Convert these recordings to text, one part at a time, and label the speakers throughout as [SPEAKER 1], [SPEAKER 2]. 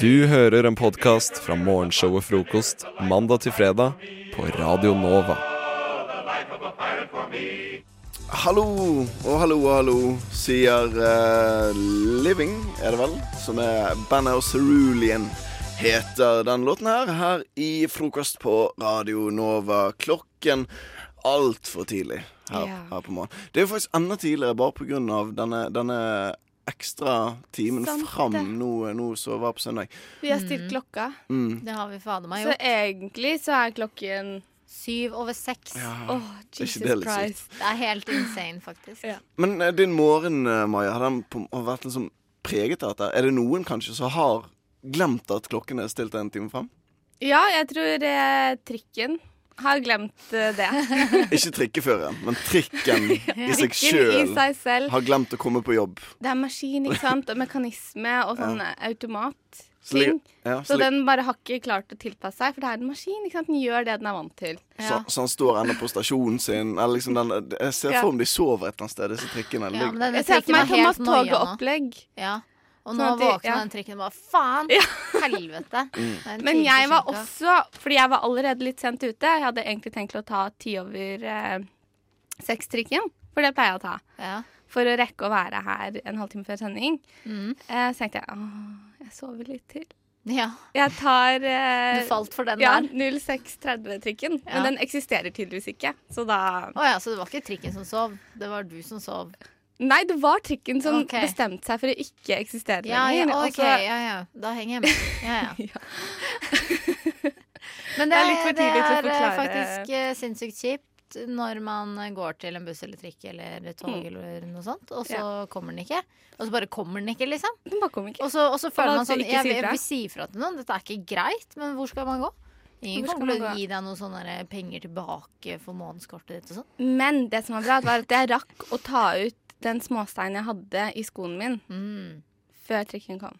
[SPEAKER 1] Du hører en podkast fra morgenshow og frokost mandag til fredag på Radio Nova.
[SPEAKER 2] Hallo og hallo og hallo, sier eh, Living, er det vel? Som er bandet og Cerulean heter den låten her. Her i frokost på Radio Nova. Klokken altfor tidlig her,
[SPEAKER 3] Ja.
[SPEAKER 2] her på morgenen. Det er jo faktisk enda tidligere bare pga. denne, denne ekstra timen
[SPEAKER 3] Sant det.
[SPEAKER 2] fram nå, nå som var på søndag.
[SPEAKER 3] Vi har stilt klokka.
[SPEAKER 2] Mm.
[SPEAKER 4] Det har vi fader meg
[SPEAKER 3] Så
[SPEAKER 4] gjort.
[SPEAKER 3] egentlig så er klokken
[SPEAKER 4] Syv over seks.
[SPEAKER 3] Åh, Jesus
[SPEAKER 2] Ah, det litt sykt?
[SPEAKER 3] Christ.
[SPEAKER 4] Det er helt insane, faktisk.
[SPEAKER 3] Ja.
[SPEAKER 2] Men eh, din morgen, eh, Maja, har den på, har vært liksom preget av dette? Er det noen kanskje som har glemt at klokken er stilt en time fram?
[SPEAKER 3] Ja, jeg tror eh, trikken har glemt eh, det.
[SPEAKER 2] Ikke trikkeføreren, men trikken i seg
[SPEAKER 3] Trikken i
[SPEAKER 2] sjøl
[SPEAKER 3] seg selv.
[SPEAKER 2] har glemt å komme på jobb.
[SPEAKER 3] Det er maskin, ikke sant, og mekanisme og sånn automat.
[SPEAKER 2] Så ligger-
[SPEAKER 3] Ting.
[SPEAKER 2] ja, så
[SPEAKER 3] Så
[SPEAKER 2] ligger-
[SPEAKER 3] den bare har ikke klart å tilpasse seg, for det er en maskin. ikke sant? Den gjør det den er vant til.
[SPEAKER 2] så, så han står ennå på stasjonen sin. Eller liksom den, jeg ser
[SPEAKER 3] Ja.
[SPEAKER 2] for meg de sover et eller annet sted, disse trikkene.
[SPEAKER 4] Ja, men
[SPEAKER 2] ligger-
[SPEAKER 4] denne
[SPEAKER 3] Jeg ser for
[SPEAKER 4] trikken
[SPEAKER 3] meg
[SPEAKER 4] var helt
[SPEAKER 3] Thomas
[SPEAKER 4] noia
[SPEAKER 3] Toge
[SPEAKER 4] nå.
[SPEAKER 3] opplegg.
[SPEAKER 4] Ja. Og
[SPEAKER 3] Sånn
[SPEAKER 4] nå
[SPEAKER 3] at de-
[SPEAKER 4] våkna
[SPEAKER 3] ja.
[SPEAKER 4] den trikken og bare faen! Helvete! Det er en
[SPEAKER 3] Men
[SPEAKER 4] time
[SPEAKER 3] jeg var
[SPEAKER 4] forsinket.
[SPEAKER 3] også Fordi jeg var allerede litt sent ute. Jeg hadde egentlig tenkt å ta ti over eh, seks-trikken, for det pleier jeg å ta.
[SPEAKER 4] ja.
[SPEAKER 3] For å rekke å være her en halvtime før sending.
[SPEAKER 4] Mm.
[SPEAKER 3] Eh, så tenkte jeg åh, jeg sover litt til.
[SPEAKER 4] ja.
[SPEAKER 3] Jeg tar eh,
[SPEAKER 4] Du falt for den
[SPEAKER 3] ja,
[SPEAKER 4] der.
[SPEAKER 3] 06.30-trikken.
[SPEAKER 4] Ja.
[SPEAKER 3] Men den eksisterer tydeligvis ikke, så da
[SPEAKER 4] Å ja, så det var ikke trikken som sov, det var du som sov.
[SPEAKER 3] Nei, det var trikken som
[SPEAKER 4] Ok.
[SPEAKER 3] bestemte seg for å ikke eksistere
[SPEAKER 4] Ja, ja,
[SPEAKER 3] lenger. og
[SPEAKER 4] ok,
[SPEAKER 3] så-
[SPEAKER 4] ja, ja. Da henger jeg med. Ja, ja. Men
[SPEAKER 3] Det er litt for tidlig til å
[SPEAKER 4] det er, eh,
[SPEAKER 3] forklare.
[SPEAKER 4] faktisk eh, sinnssykt kjipt når man eh, går til en buss eller trikk eller et tog eller noe sånt, og så kommer den ikke. Og så bare kommer den ikke, liksom.
[SPEAKER 3] Den bare kom ikke.
[SPEAKER 4] Og så, og så føler
[SPEAKER 3] da
[SPEAKER 4] man sånn
[SPEAKER 3] ikke
[SPEAKER 4] Jeg,
[SPEAKER 3] si
[SPEAKER 4] vil- jeg
[SPEAKER 3] fra.
[SPEAKER 4] vil si ifra til noen, dette er ikke greit, men hvor skal man gå? Ingen
[SPEAKER 3] Hvor skal
[SPEAKER 4] kommer til
[SPEAKER 3] man
[SPEAKER 4] å
[SPEAKER 3] gå?
[SPEAKER 4] gi deg noen sånne der eh, penger tilbake for månedskortet ditt og sånn.
[SPEAKER 3] Men det som var bra, var at jeg rakk å ta ut den småsteinen jeg hadde i skoen min
[SPEAKER 4] Mm.
[SPEAKER 3] før trikken kom.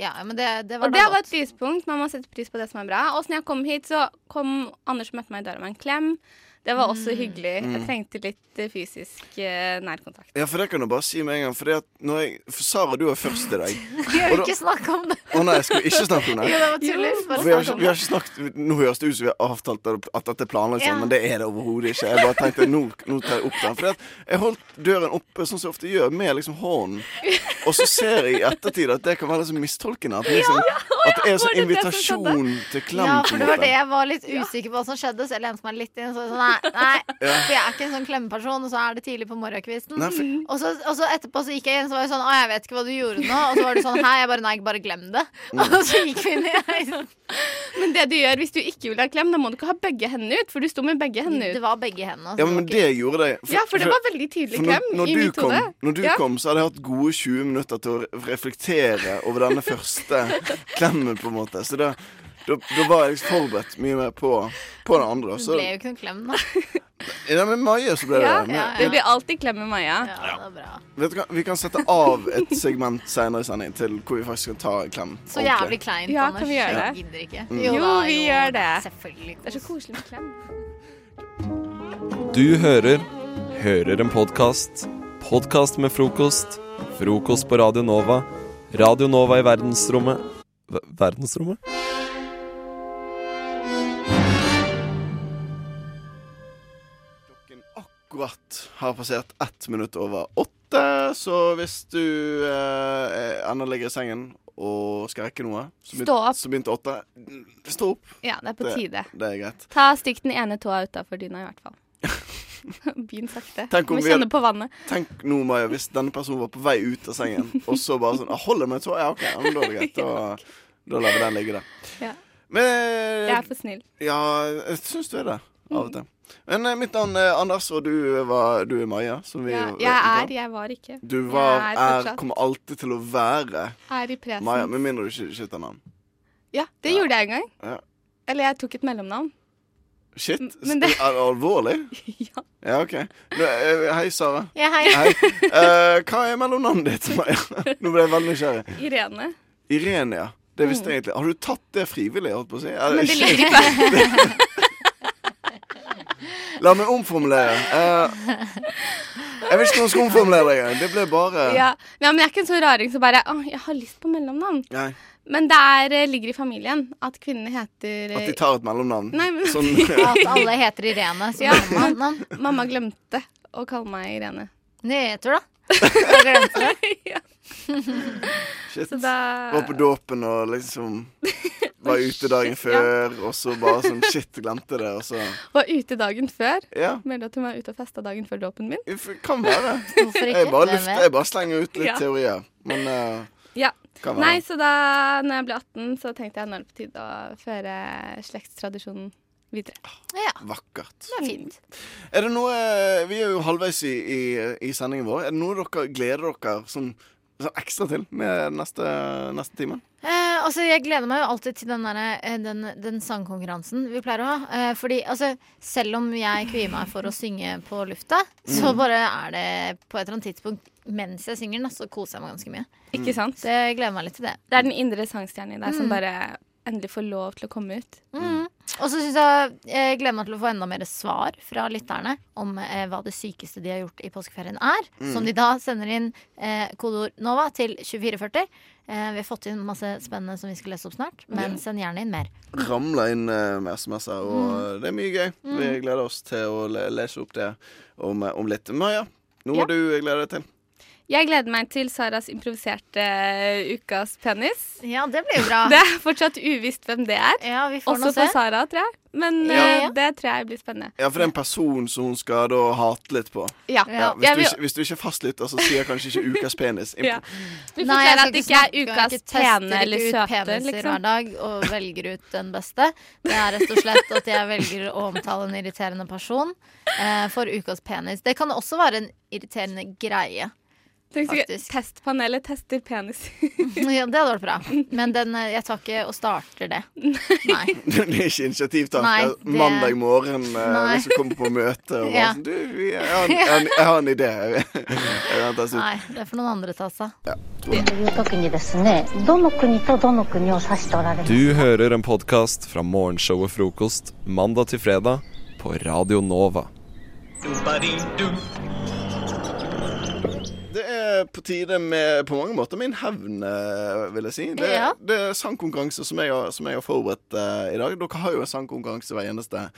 [SPEAKER 4] Ja, men det, det var
[SPEAKER 3] Og det
[SPEAKER 4] da
[SPEAKER 3] var
[SPEAKER 4] godt.
[SPEAKER 3] et lyspunkt. Man må sette pris på det som er bra. Og så når jeg kom hit, så kom Anders og møtte meg i døra med en klem. Det var
[SPEAKER 4] Mm.
[SPEAKER 3] også hyggelig. Jeg trengte litt eh, fysisk eh, nærkontakt.
[SPEAKER 2] Ja, for det kan du bare si med en gang. Fordi at når jeg, for Sara, du var først i dag.
[SPEAKER 4] Vi har
[SPEAKER 2] og da-
[SPEAKER 4] jo ikke snakket om det.
[SPEAKER 2] Å nei, jeg skulle ikke snakke om det.
[SPEAKER 4] Jo, det var tuller. Bare
[SPEAKER 2] Vi har,
[SPEAKER 4] snakk
[SPEAKER 2] ikke,
[SPEAKER 4] om
[SPEAKER 2] vi har
[SPEAKER 4] det.
[SPEAKER 2] ikke snakket Nå høres det ut som vi har avtalt at- at dette er planlagt sånn,
[SPEAKER 4] Ja.
[SPEAKER 2] men det er det overhodet ikke. Jeg bare tenkte nå, nå tar jeg opp den. For jeg holdt døren oppe sånn som jeg ofte gjør, med liksom hånden. Og så ser jeg i ettertid at det kan være så mistolkende. At, liksom, at
[SPEAKER 3] var det
[SPEAKER 2] det er sånn
[SPEAKER 3] det som skjedde?
[SPEAKER 2] invitasjon til klem.
[SPEAKER 4] Ja,
[SPEAKER 2] på
[SPEAKER 4] for
[SPEAKER 2] en
[SPEAKER 4] det var
[SPEAKER 2] måte.
[SPEAKER 4] det jeg var litt usikker på hva som skjedde, så jeg lente meg litt inn. Så jeg sånn, nei, nei, for jeg er ikke en sånn klemmeperson, og så er det tidlig på morgenkvisten.
[SPEAKER 2] Nei, for-
[SPEAKER 4] Og, så, og så etterpå så gikk jeg inn, så var jeg sånn Å, jeg vet ikke hva du gjorde nå. Og så var du sånn Hei, jeg bare Nei, bare glem det.
[SPEAKER 2] Mm.
[SPEAKER 4] Og så gikk vi inn
[SPEAKER 3] Sånn
[SPEAKER 4] i
[SPEAKER 3] Men det du gjør hvis du ikke vil ha klem, da må du ikke ha begge hendene ut, for du sto med begge hendene
[SPEAKER 4] Det
[SPEAKER 3] ut.
[SPEAKER 4] var begge hendene. altså.
[SPEAKER 2] Ja, men det gjorde det.
[SPEAKER 3] Ja, for det var veldig tydelig
[SPEAKER 2] for når,
[SPEAKER 3] klem
[SPEAKER 2] når
[SPEAKER 3] i
[SPEAKER 2] du
[SPEAKER 3] mitt
[SPEAKER 2] kom,
[SPEAKER 3] hode.
[SPEAKER 2] Når du
[SPEAKER 3] Ja.
[SPEAKER 2] kom, så hadde jeg hatt gode 20 minutter til å re- reflektere over denne første klemmen, på en måte. Så da, da, da var jeg liksom forberedt mye mer på, på det andre.
[SPEAKER 4] Det
[SPEAKER 2] Så
[SPEAKER 4] ble jo ikke noen klem, da.
[SPEAKER 2] Ja, men Maja så ble det
[SPEAKER 3] Ja,
[SPEAKER 2] det. Men,
[SPEAKER 4] ja,
[SPEAKER 3] Det blir alltid klem med Maja.
[SPEAKER 4] Ja, det var bra.
[SPEAKER 2] Vet du hva, Vi kan sette av et segment senere i sending til hvor vi faktisk skal ta en klem.
[SPEAKER 4] Så
[SPEAKER 2] ordentlig.
[SPEAKER 4] jævlig kleint,
[SPEAKER 3] Ja,
[SPEAKER 4] Anders.
[SPEAKER 3] kan vi gjøre
[SPEAKER 4] Jeg
[SPEAKER 3] det?
[SPEAKER 4] gidder ikke.
[SPEAKER 2] Mm.
[SPEAKER 3] Jo,
[SPEAKER 4] da,
[SPEAKER 3] vi gjør det.
[SPEAKER 4] Selvfølgelig.
[SPEAKER 3] Det er så koselig med klem.
[SPEAKER 1] Du hører Hører en podkast. Podkast med frokost. Frokost på Radio Nova. Radio Nova i verdensrommet Ver- Verdensrommet?
[SPEAKER 2] Klokken akkurat har passert ett minutt over åtte, så hvis du eh, ennå ligger i sengen og skal rekke noe så
[SPEAKER 3] Stå opp.
[SPEAKER 2] Så begynte åtte. Stå opp.
[SPEAKER 3] Ja, det er på tide.
[SPEAKER 2] Det er greit.
[SPEAKER 3] Ta stygt den ene tåa utafor dyna, i hvert fall. Begynn sakte.
[SPEAKER 2] Tenk om
[SPEAKER 3] Må
[SPEAKER 2] vi hadde-
[SPEAKER 3] kjenne på vannet.
[SPEAKER 2] Tenk nå, Maja, hvis denne personen var på vei ut av sengen, og så bare sånn ah, 'Holder jeg meg i tå?' Ja, OK, ja, men da er det greit. Da, da lar vi den ligge der.
[SPEAKER 3] Ja.
[SPEAKER 2] Men
[SPEAKER 3] Jeg er for snill.
[SPEAKER 2] Ja, jeg syns du er det. Av og til. Men eh, mitt navn er Anders, og du, var, du er Maja. Som vi,
[SPEAKER 3] Ja, jeg er, jeg var ikke.
[SPEAKER 2] Du var,
[SPEAKER 3] jeg er
[SPEAKER 2] er,
[SPEAKER 3] fortsatt.
[SPEAKER 2] kommer alltid til å være
[SPEAKER 3] Er i presen.
[SPEAKER 2] Maja, med mindre du ikke skifter navn.
[SPEAKER 3] Ja, det gjorde jeg en gang.
[SPEAKER 2] Ja.
[SPEAKER 3] Eller jeg tok et mellomnavn.
[SPEAKER 2] Shit,
[SPEAKER 3] Men det-
[SPEAKER 2] er det alvorlig?
[SPEAKER 3] ja.
[SPEAKER 2] Ja, OK. Nå, eh, hei, Sara.
[SPEAKER 4] Ja, hei.
[SPEAKER 2] Hei. Eh, hva er mellomnavnet ditt, Maja? Nå ble jeg veldig nysgjerrig.
[SPEAKER 3] Irene.
[SPEAKER 2] Irene, ja. Det visste jeg egentlig. Har du tatt det frivillig? Holdt på å si? Er
[SPEAKER 3] Men det
[SPEAKER 2] ikke-
[SPEAKER 3] ligger ikke der.
[SPEAKER 2] La meg omformulere. Eh, jeg vet ikke hvordan jeg skal omformulere det engang. Det ble bare
[SPEAKER 3] Ja. Nei, men jeg er ikke en sånn raring som bare Å, jeg har lyst på mellomnavn.
[SPEAKER 2] Nei.
[SPEAKER 3] Men der eh, ligger i familien at kvinnene heter
[SPEAKER 2] At
[SPEAKER 3] eh,
[SPEAKER 2] de tar et mellomnavn.
[SPEAKER 3] Nei, men-
[SPEAKER 2] Sånn,
[SPEAKER 4] At alle heter Irene. Så
[SPEAKER 3] Ja.
[SPEAKER 4] mamma, mamma,
[SPEAKER 3] eh, Mamma glemte å kalle meg Irene.
[SPEAKER 4] Nyheter, da. Jeg glemte det.
[SPEAKER 2] shit.
[SPEAKER 3] Så da
[SPEAKER 2] Var på dåpen og liksom var ute dagen
[SPEAKER 3] Shit, ja.
[SPEAKER 2] før, og så bare sånn shit, glemte det, og så
[SPEAKER 3] Var ute dagen før.
[SPEAKER 2] Ja,
[SPEAKER 3] Meldte at hun var ute og festa dagen før dåpen min.
[SPEAKER 2] f- kan være.
[SPEAKER 4] Hvorfor ikke?
[SPEAKER 2] Jeg bare,
[SPEAKER 4] Hvem
[SPEAKER 2] lufter,
[SPEAKER 4] vet?
[SPEAKER 2] jeg bare slenger ut litt
[SPEAKER 3] Ja.
[SPEAKER 2] teorier. Men eh,
[SPEAKER 3] Ja.
[SPEAKER 2] kan være.
[SPEAKER 3] Nei, så da når jeg ble 18, så tenkte jeg nå er det på tide å føre slektstradisjonen videre.
[SPEAKER 4] Ja,
[SPEAKER 2] Vakkert.
[SPEAKER 4] det er fint.
[SPEAKER 2] Er det noe eh, Vi er jo halvveis i, i, i sendingen vår. Er det noe dere gleder dere sånn, sånn ekstra til med neste, neste time?
[SPEAKER 4] Eh, altså, jeg gleder meg jo alltid til den, derre, eh, den, den sangkonkurransen vi pleier å ha. Eh, fordi altså, selv om jeg kvier meg for å synge på lufta, så bare er det på et eller annet tidspunkt mens jeg synger, da, så koser jeg meg ganske mye.
[SPEAKER 3] Ikke sant?
[SPEAKER 4] Så jeg gleder meg litt til det.
[SPEAKER 3] Det er den indre sangstjernen i deg som bare endelig får lov til å komme ut.
[SPEAKER 4] Mm. Og så syns jeg jeg gleder meg til å få enda mer svar fra lytterne om eh, hva det sykeste de har gjort i påskeferien er. Som de da sender inn eh, kodeord NOVA til 2440. Eh, vi har fått inn masse spennende som vi skal lese opp snart, men send gjerne inn mer.
[SPEAKER 2] Ramler inn eh, med SMS-er, og
[SPEAKER 4] Mm.
[SPEAKER 2] eh, det er mye gøy. Vi gleder oss til å le lese opp det om, eh, om litt. Maja, noe
[SPEAKER 3] Ja.
[SPEAKER 2] du gleder deg til?
[SPEAKER 3] Jeg gleder meg til Saras improviserte eh, ukas penis.
[SPEAKER 4] Ja, det blir jo bra.
[SPEAKER 5] Ah.
[SPEAKER 3] Det er fortsatt uvisst hvem det
[SPEAKER 5] Eh,
[SPEAKER 3] er.
[SPEAKER 4] Ja, vi får
[SPEAKER 3] Også
[SPEAKER 4] nå
[SPEAKER 3] for
[SPEAKER 4] se.
[SPEAKER 3] Sara, tror jeg. Men
[SPEAKER 4] Ja.
[SPEAKER 3] eh, det tror jeg blir spennende.
[SPEAKER 2] Ja, for det er en person som hun skal da hate litt på.
[SPEAKER 3] Ja.
[SPEAKER 4] Ja,
[SPEAKER 2] Hvis,
[SPEAKER 3] Jeg
[SPEAKER 2] du
[SPEAKER 3] vil,
[SPEAKER 2] ikke, hvis du ikke er fastlytter, så sier kanskje ikke 'ukas penis'.
[SPEAKER 3] ja. Vi
[SPEAKER 4] Nei, jeg
[SPEAKER 3] forklarer
[SPEAKER 4] skal
[SPEAKER 3] at det ikke er
[SPEAKER 4] snakke, jeg
[SPEAKER 3] ukas
[SPEAKER 4] tester
[SPEAKER 3] pene
[SPEAKER 4] ikke
[SPEAKER 3] eller
[SPEAKER 4] ut
[SPEAKER 3] søte,
[SPEAKER 4] peniser hver
[SPEAKER 3] liksom.
[SPEAKER 4] dag og velger ut den beste. Det er rett og slett at jeg velger å omtale en irriterende person eh, for ukas penis. Det kan også være en irriterende greie.
[SPEAKER 3] Tenk så gøy.
[SPEAKER 4] faktisk.
[SPEAKER 3] Testpanelet tester penis.
[SPEAKER 4] Ja, det hadde vært bra. Men den, eh, jeg tar ikke og starter det. Nei.
[SPEAKER 2] Det er ikke initiativtaker.
[SPEAKER 4] Nei, det-
[SPEAKER 2] Mandag morgen eh,
[SPEAKER 4] Nei.
[SPEAKER 2] hvis du kommer på møte og bare
[SPEAKER 4] Ja.
[SPEAKER 2] sånn du, vi- jeg har, en, jeg, har en, jeg har en idé. Jeg vil ha en test ut.
[SPEAKER 4] Nei, det får noen andre ta seg av.
[SPEAKER 6] という時にですねどの国とどの国を指しておられる
[SPEAKER 1] Du hører en podkast fra morgenshowet Frokost mandag til fredag på Radio Nova.
[SPEAKER 2] Det er på tide med på mange måter min hevn, eh, vil jeg si. Det,
[SPEAKER 4] Ja.
[SPEAKER 2] det er sangkonkurranse som jeg har, som jeg har forberedt eh, i dag. Dere har jo en sangkonkurranse hver eneste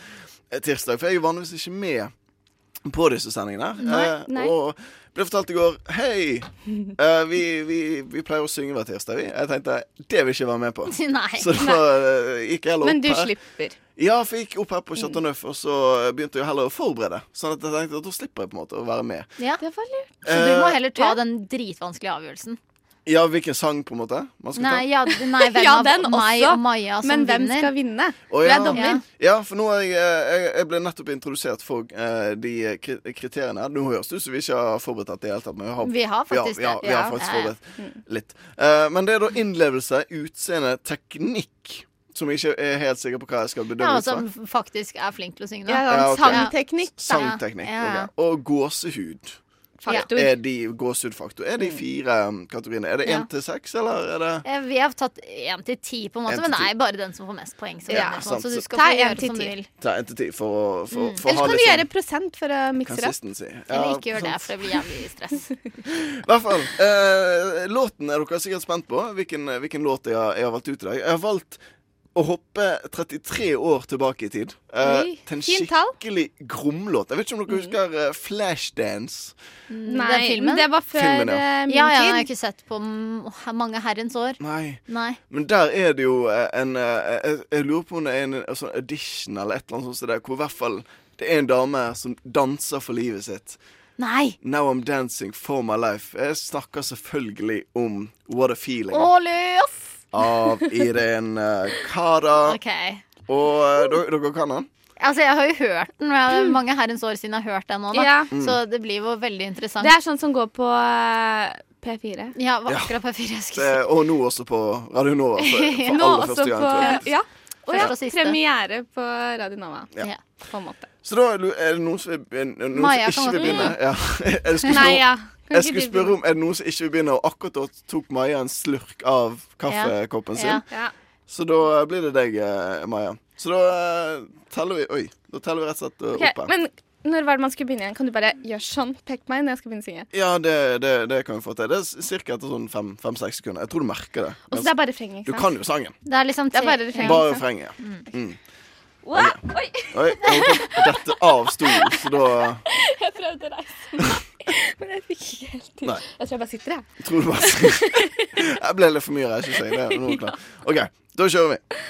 [SPEAKER 2] eh, tirsdag. For jeg er jo vanligvis ikke med på disse sendingene. her.
[SPEAKER 4] Nei,
[SPEAKER 2] Eh,
[SPEAKER 3] nei.
[SPEAKER 2] Og ble fortalt i går Hei! eh, vi, vi, vi pleier å synge hver tirsdag, vi. Jeg tenkte det vil jeg ikke være med på.
[SPEAKER 4] Nei.
[SPEAKER 2] Så da eh, gikk jeg heller opp
[SPEAKER 3] Men du
[SPEAKER 2] her.
[SPEAKER 3] slipper.
[SPEAKER 2] Ja, for jeg gikk opp her på Chateau Neuf, og så begynte jeg heller å forberede. Sånn at jeg tenkte at da slipper jeg på en måte å være med.
[SPEAKER 4] Ja.
[SPEAKER 3] Det var lurt.
[SPEAKER 4] Så du må
[SPEAKER 2] Eh,
[SPEAKER 4] heller ta den dritvanskelige avgjørelsen.
[SPEAKER 2] Ja, hvilken sang, på en måte? Man skal
[SPEAKER 4] Nei, ja, nei hvem
[SPEAKER 3] Ja,
[SPEAKER 4] av
[SPEAKER 3] den
[SPEAKER 4] meg
[SPEAKER 3] også.
[SPEAKER 4] og Maja som
[SPEAKER 5] Altså,
[SPEAKER 3] Men hvem
[SPEAKER 4] vinner?
[SPEAKER 3] skal vinne?
[SPEAKER 2] ta? Å,
[SPEAKER 3] Du
[SPEAKER 2] ja.
[SPEAKER 3] er dommer.
[SPEAKER 4] Ja.
[SPEAKER 2] Ja, for nå er jeg, eh, jeg, jeg ble nettopp introdusert for eh, de kri- kriteriene. Nå høres det ut som vi ikke har forberedt dette i det hele tatt. Men vi har,
[SPEAKER 4] Vi har faktisk
[SPEAKER 2] ja, ja,
[SPEAKER 4] det.
[SPEAKER 2] vi har
[SPEAKER 4] Ja.
[SPEAKER 2] faktisk
[SPEAKER 4] Ja, ja. Mm.
[SPEAKER 2] forberedt litt. Eh, men det er da innlevelse, utseende, teknikk, som jeg ikke er helt sikker på hva jeg skal
[SPEAKER 4] Ja, altså,
[SPEAKER 2] bedømme ut fra.
[SPEAKER 4] som faktisk er flink til å synge.
[SPEAKER 3] Ja,
[SPEAKER 4] Da.
[SPEAKER 2] Ja,
[SPEAKER 3] sånn
[SPEAKER 2] ok.
[SPEAKER 3] Sangteknikk.
[SPEAKER 2] Sangteknikk.
[SPEAKER 4] Ja.
[SPEAKER 2] ok. Og gåsehud.
[SPEAKER 3] Faktor.
[SPEAKER 2] Er de gåsehudfaktor? Er de fire um, kategoriene? Er det
[SPEAKER 4] Mm. Ja.
[SPEAKER 2] én til seks, eller er det
[SPEAKER 4] Eh, Vi har tatt én til ti, på en måte,
[SPEAKER 2] En til
[SPEAKER 4] men det
[SPEAKER 2] ti.
[SPEAKER 4] er bare den som får mest poeng. Som
[SPEAKER 3] Ja,
[SPEAKER 4] vinner, på en
[SPEAKER 2] sant.
[SPEAKER 4] måte, så du skal
[SPEAKER 3] Ta
[SPEAKER 4] få
[SPEAKER 3] en
[SPEAKER 4] gjøre
[SPEAKER 3] til
[SPEAKER 4] som
[SPEAKER 3] ti.
[SPEAKER 4] du vil.
[SPEAKER 2] Ta en til ti for å for,
[SPEAKER 4] Mm.
[SPEAKER 2] for å
[SPEAKER 3] Eller
[SPEAKER 2] ha
[SPEAKER 3] kan du
[SPEAKER 2] liksom
[SPEAKER 3] gjøre prosent for å mikse det opp?
[SPEAKER 2] Consistency. sånn
[SPEAKER 4] Eller ikke gjør det,
[SPEAKER 2] sant.
[SPEAKER 4] for det blir jævlig stress.
[SPEAKER 2] I hvert fall. eh, låten er dere sikkert spent på. Hvilken, hvilken låt jeg har, jeg har valgt ut i dag. Jeg har valgt å hoppe 33 år tilbake i tid. eh,
[SPEAKER 3] Oi,
[SPEAKER 2] til en
[SPEAKER 3] fint tall. Mm.
[SPEAKER 2] skikkelig gromlåt. Jeg vet ikke om dere husker eh, Flashdance.
[SPEAKER 3] Nei,
[SPEAKER 4] den filmen?
[SPEAKER 3] det var før
[SPEAKER 2] Filmen, ja.
[SPEAKER 3] eh, min
[SPEAKER 4] Ja, ja, jeg har
[SPEAKER 3] tid.
[SPEAKER 4] ikke sett på m- mange herrens år.
[SPEAKER 2] Nei.
[SPEAKER 4] Nei.
[SPEAKER 2] Men der er det jo eh, en eh, Jeg, jeg lurer på om det er en, en sånn audition eller et eller annet sånt som det, hvor i hvert fall det er en dame som danser for livet sitt.
[SPEAKER 4] Nei!
[SPEAKER 2] Now I'm dancing for my life. Jeg snakker selvfølgelig om What a Feeling
[SPEAKER 4] Å, løs!
[SPEAKER 2] av Irene Cara.
[SPEAKER 4] OK.
[SPEAKER 2] Og eh, dere, dere kan den?
[SPEAKER 4] Altså, jeg har jo hørt den. og Jeg har mange herrens år siden jeg har hørt den nå, da.
[SPEAKER 3] Ja.
[SPEAKER 2] Mm.
[SPEAKER 4] Så det blir jo veldig interessant.
[SPEAKER 3] Det er sånn som går på eh, P4.
[SPEAKER 4] Ja, var akkurat på fire jeg
[SPEAKER 2] Det,
[SPEAKER 4] skulle si.
[SPEAKER 2] og nå også på Radio Nova for, for
[SPEAKER 3] Nå
[SPEAKER 2] aller
[SPEAKER 3] også
[SPEAKER 2] første
[SPEAKER 3] på
[SPEAKER 2] gang. Tror jeg.
[SPEAKER 3] Ja. Og ja,
[SPEAKER 4] Første og siste.
[SPEAKER 3] premiere på Radio Nova.
[SPEAKER 2] Ja.
[SPEAKER 4] Ja.
[SPEAKER 3] På en måte.
[SPEAKER 2] Så da er det- er det noen som, vil- er det noen
[SPEAKER 4] Maja
[SPEAKER 2] som
[SPEAKER 4] kan
[SPEAKER 2] ikke vil
[SPEAKER 4] godt
[SPEAKER 2] begynne? Ja. Jeg skulle
[SPEAKER 3] Nei,
[SPEAKER 2] spørre-
[SPEAKER 3] ja. Kan
[SPEAKER 2] Jeg
[SPEAKER 3] ikke
[SPEAKER 2] skulle
[SPEAKER 3] du
[SPEAKER 2] spørre om Er det noen som ikke vil begynne, og akkurat da tok Maja en slurk av kaffekoppen sin.
[SPEAKER 4] Ja.
[SPEAKER 3] begynne? Ja.
[SPEAKER 2] Så da blir det deg, eh, Maja. Så da eh, teller vi Oi. Da teller vi rett og slett eh,
[SPEAKER 3] Ok,
[SPEAKER 2] opp her.
[SPEAKER 3] men Når var det man skulle begynne igjen? Kan du bare gjøre sånn? Pek meg når jeg skal begynne å synge.
[SPEAKER 2] Ja, det, det, det kan vi få til. Det er ca. etter sånn fem-seks sekunder. Jeg tror du merker det.
[SPEAKER 3] Og så det er bare refrenget,
[SPEAKER 2] Du
[SPEAKER 3] ikke sant?
[SPEAKER 2] kan jo sangen.
[SPEAKER 4] Det er liksom
[SPEAKER 3] Det er
[SPEAKER 4] tre-
[SPEAKER 3] bare
[SPEAKER 4] ja.
[SPEAKER 3] refrenget.
[SPEAKER 2] Bare refrenget. Mm.
[SPEAKER 3] Wow, Oi,
[SPEAKER 2] Oi, jeg holdt på å dette av stolen, så da
[SPEAKER 3] jeg prøvde å reise meg, men jeg fikk ikke helt til.
[SPEAKER 2] Nei.
[SPEAKER 3] Jeg tror jeg bare sitter, jeg.
[SPEAKER 2] tror du bare Jeg ble litt for mye reising, jeg. Det er noe klart. OK, da kjører vi.